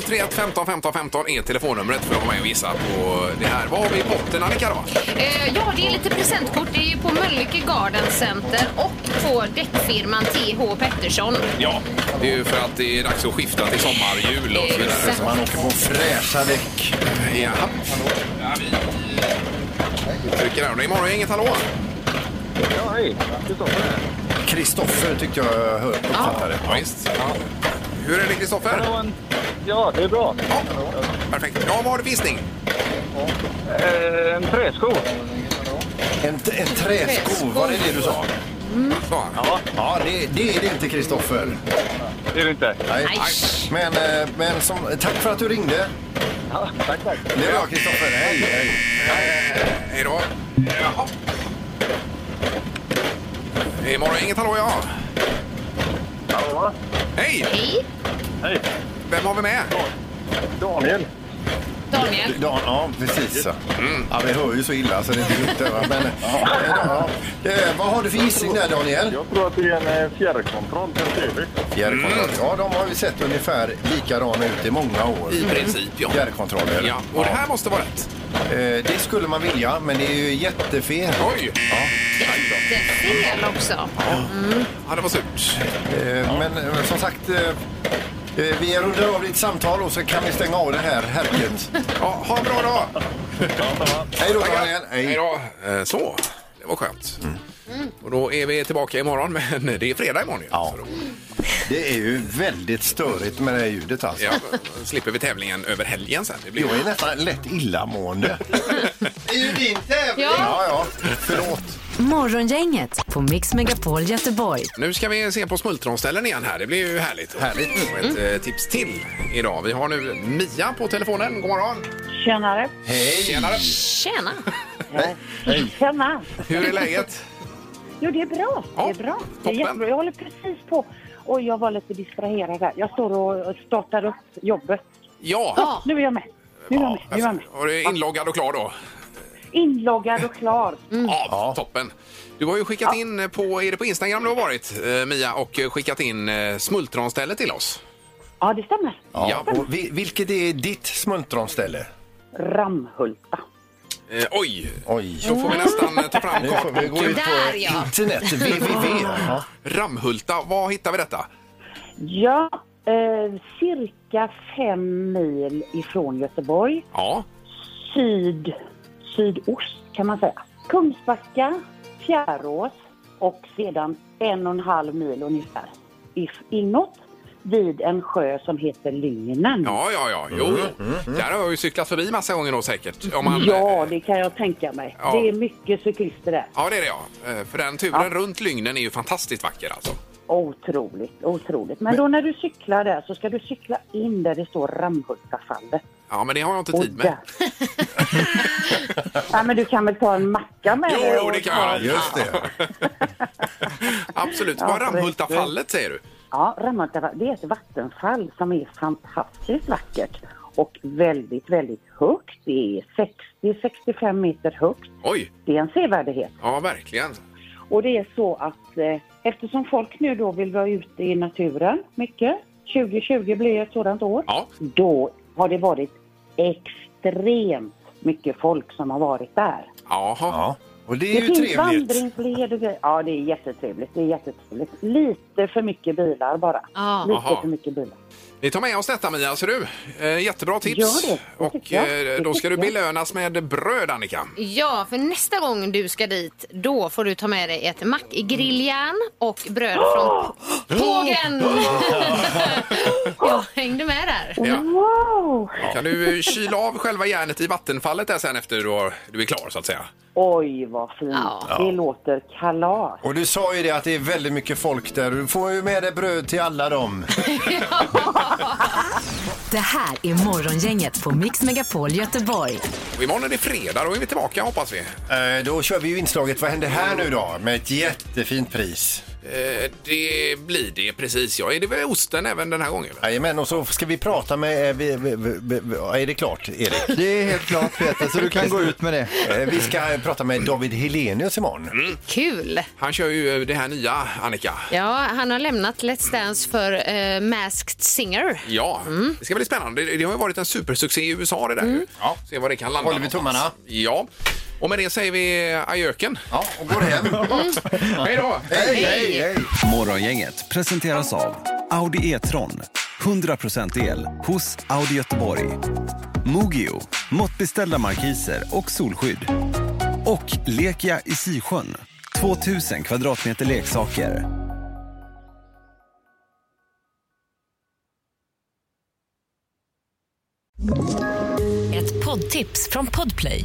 [SPEAKER 3] 031 15 15 15 är telefonnumret för att vara med och gissa på det här. Vad har vi i botten Annika då?
[SPEAKER 6] Eh, ja, det är lite presentkort. Det är ju på Mölnlycke Garden Center och på däckfirman TH Pettersson.
[SPEAKER 3] Ja, det är ju för att det är dags att skifta till sommar, jul och så vidare.
[SPEAKER 6] Exakt.
[SPEAKER 5] man åker på fräscha däck.
[SPEAKER 3] Ja. Vi trycker här. Det är imorgon, inget hallå?
[SPEAKER 5] Kristoffer tyckte jag hör- uppfattade.
[SPEAKER 3] Ja, visst. Hur är det Kristoffer?
[SPEAKER 7] Ja, det är bra.
[SPEAKER 3] Ja. Perfekt. Ja, vad har du för gissning?
[SPEAKER 7] Eh, En träsko.
[SPEAKER 5] En, en träsko, var det det du sa?
[SPEAKER 3] Så.
[SPEAKER 5] Ja, det, det är det inte Kristoffer.
[SPEAKER 7] Det är det inte.
[SPEAKER 5] Nej. Men, eh, men som, tack för att du ringde.
[SPEAKER 7] Tack, tack. Eh,
[SPEAKER 5] Det är bra Kristoffer. Hej, hej.
[SPEAKER 3] Hej då. Jaha. Imorgon, inget hallå ja.
[SPEAKER 7] Ja,
[SPEAKER 3] Hej!
[SPEAKER 6] Hej,
[SPEAKER 7] hej.
[SPEAKER 3] Vem har vi med?
[SPEAKER 7] Daniel.
[SPEAKER 6] Daniel.
[SPEAKER 5] Ja, ja precis. Mm. Ja, vi hör ju så illa så det är inte klokt. va? Men, ja, ja, ja. Eh, vad har du för gissning där Daniel?
[SPEAKER 7] Jag tror att det är en eh, fjärrkontroll till TV. Mm.
[SPEAKER 5] Fjärrkontroll. Ja, de har vi sett ungefär likadana ut i många år.
[SPEAKER 3] I princip, ja.
[SPEAKER 5] Fjärrkontroller.
[SPEAKER 3] Mm. Ja, och det här måste vara rätt.
[SPEAKER 5] Eh, Det skulle man vilja, men det är ju jättefel.
[SPEAKER 3] Oj!
[SPEAKER 6] Jättefel också.
[SPEAKER 5] 嗯
[SPEAKER 3] Ja, det var surt.
[SPEAKER 5] Eh, Men eh, som sagt, eh, eh, vi rundar av ditt samtal och så kan vi stänga av det här herkens.
[SPEAKER 3] Ja, ha en bra dag!
[SPEAKER 5] Hej då Daniel!
[SPEAKER 3] Hej då! Eh, Så, det var skönt.
[SPEAKER 5] Mm.
[SPEAKER 3] Och då är vi tillbaka imorgon, men det är fredag imorgon ju.
[SPEAKER 5] Ja.
[SPEAKER 3] Så då,
[SPEAKER 5] Det är ju väldigt störigt med det här ljudet alltså.
[SPEAKER 3] ja, då slipper vi tävlingen över helgen sen. Det blir
[SPEAKER 5] Jag är nästan lätt illamående. Det är ju din tävling!
[SPEAKER 6] Ja.
[SPEAKER 5] Ja, ja. Förlåt.
[SPEAKER 2] Morgongänget på Mix Megapol Göteborg.
[SPEAKER 3] Nu ska vi se på smultronställen igen här. Det blir ju härligt.
[SPEAKER 5] Härligt. Mm.
[SPEAKER 3] Och ett eh, tips till idag. Vi har nu Mia på telefonen. God morgon!
[SPEAKER 8] Tjenare.
[SPEAKER 5] Hej!
[SPEAKER 3] Tjenare!
[SPEAKER 6] Tjena.
[SPEAKER 8] Tjena.
[SPEAKER 3] Hur är läget?
[SPEAKER 8] Jo, det är bra.
[SPEAKER 3] Ja,
[SPEAKER 8] det är bra. Det är
[SPEAKER 3] toppen.
[SPEAKER 8] jättebra. Jag håller precis på. Och jag var lite distraherad där. Jag står och startar upp jobbet.
[SPEAKER 3] Ja!
[SPEAKER 8] Nu är jag med. Nu är jag med. Nu är jag med.
[SPEAKER 3] Och du är inloggad och klar då?
[SPEAKER 8] Inloggad och klar.
[SPEAKER 3] Ja, toppen. Du har ju skickat in eh, på, är det på Instagram du har varit eh, Mia och eh, skickat in eh, smultronställe till oss.
[SPEAKER 8] Ja, det stämmer.
[SPEAKER 5] Ja, och vi, vilket är ditt smultronställe?
[SPEAKER 8] Ramhulta.
[SPEAKER 3] Eh, oj!
[SPEAKER 5] Oj!
[SPEAKER 3] Då får vi nästan eh, ta fram
[SPEAKER 5] Nu får vi gå ut
[SPEAKER 3] kartan.
[SPEAKER 5] på internet, www. Ja.
[SPEAKER 3] Ramhulta, var hittar vi detta?
[SPEAKER 12] Ja, eh, cirka fem mil ifrån Göteborg.
[SPEAKER 3] Ja.
[SPEAKER 12] Syd, sydost kan man säga. Kungsbacka, Fjärås och sedan en och en halv mil ungefär if- inåt vid en sjö som heter Lyngnen.
[SPEAKER 3] Ja, ja, ja. Jo, jo. Där har jag ju cyklat förbi massa gånger då säkert. Om man,
[SPEAKER 12] Mm, Ja, det kan jag tänka mig.
[SPEAKER 3] eh, Ja.
[SPEAKER 12] Det är mycket cyklister där.
[SPEAKER 3] Ja, det är det ja. Eh, För den turen runt Lygnen är ju fantastiskt vacker alltså.
[SPEAKER 12] Otroligt, otroligt. Men då när du cyklar där så ska du cykla in där det står Ramhultafallet.
[SPEAKER 3] Ja, men det har jag inte
[SPEAKER 12] Och
[SPEAKER 3] tid med.
[SPEAKER 12] Nej, men du kan väl ta en macka med
[SPEAKER 3] Jo,
[SPEAKER 12] dig?
[SPEAKER 3] jo,
[SPEAKER 12] och
[SPEAKER 3] det kan
[SPEAKER 12] ta-
[SPEAKER 3] jag. Just det. Absolut.
[SPEAKER 12] Ja,
[SPEAKER 3] Var Ramhultafallet säger du?
[SPEAKER 12] Ja, Ramhultafallet, det är ett vattenfall som är fantastiskt vackert och väldigt, väldigt högt. Det är 60-65 meter högt.
[SPEAKER 3] Oj!
[SPEAKER 12] Det är en sevärdhet.
[SPEAKER 3] Ja, verkligen.
[SPEAKER 12] Och det är så att eh, eftersom folk nu då vill vara ute i naturen mycket, 2020 blir ett sådant år, då har det varit extremt mycket folk som har varit där.
[SPEAKER 3] Jaha.
[SPEAKER 5] Ja. Och det är ju
[SPEAKER 12] finns
[SPEAKER 5] trevligt.
[SPEAKER 12] vandringsled och grejer. Ja, det är jättetrevligt. Det är jättetrevligt. Lite för mycket bilar bara. Lite
[SPEAKER 3] Aha.
[SPEAKER 12] för mycket bilar.
[SPEAKER 3] Vi tar med oss detta Mia, ser du. Eh, Jättebra tips.
[SPEAKER 12] Gör det, det
[SPEAKER 3] Och
[SPEAKER 12] tycker jag.
[SPEAKER 3] eh,
[SPEAKER 12] Det
[SPEAKER 3] då ska du
[SPEAKER 12] tycker jag.
[SPEAKER 3] belönas med bröd Annika.
[SPEAKER 6] Ja, för nästa gång du ska dit, då får du ta med dig ett mackgrilljärn och bröd från Pågen! Jag hängde med där.
[SPEAKER 3] Ja.
[SPEAKER 12] Wow!
[SPEAKER 3] Kan du eh, kyla av själva järnet i vattenfallet där sen efter du, har, du är klar så att säga?
[SPEAKER 12] Oj, vad fint. Det låter kalas.
[SPEAKER 5] Och du sa ju det att det är väldigt mycket folk där. Du får ju med dig bröd till alla dem.
[SPEAKER 2] Det här är Morgongänget på Mix Megapol Göteborg.
[SPEAKER 3] Och imorgon är det fredag, då är vi tillbaka hoppas vi.
[SPEAKER 5] Eh, Då kör vi ju inslaget Vad händer här nu då? Med ett jättefint pris.
[SPEAKER 3] Eh, det blir det precis ja. Är det väl osten även den här gången?
[SPEAKER 5] Jajamän, och så ska vi prata med... eh, vi- vi- vi- vi- ja, Är det klart, Erik?
[SPEAKER 4] Det är helt klart Peter, så du kan gå ut med det.
[SPEAKER 5] Eh, Vi ska eh, prata med David Helenius imorgon.
[SPEAKER 6] Kul!
[SPEAKER 3] Mm. Han kör ju eh, det här nya Annika.
[SPEAKER 6] Ja, han har lämnat Let's Dance för eh, Masked Singer.
[SPEAKER 3] Ja,
[SPEAKER 5] Mm.
[SPEAKER 3] det ska bli spännande. Det, det har ju varit en supersuccé i USA det där ju. Ja. Se vad det kan landa
[SPEAKER 5] Håller vi
[SPEAKER 3] någonstans.
[SPEAKER 5] tummarna.
[SPEAKER 3] Ja. Och med det säger vi ajöken.
[SPEAKER 5] Ja, och går hem.
[SPEAKER 3] Hej då!
[SPEAKER 5] Hej, hej, hej!
[SPEAKER 11] Morgongänget presenteras av Audi E-tron. 100% el hos Audi Göteborg. Mogio, måttbeställda markiser och solskydd. Och Lekia i Sisjön, 2000 kvadratmeter leksaker.
[SPEAKER 13] Ett poddtips från Podplay.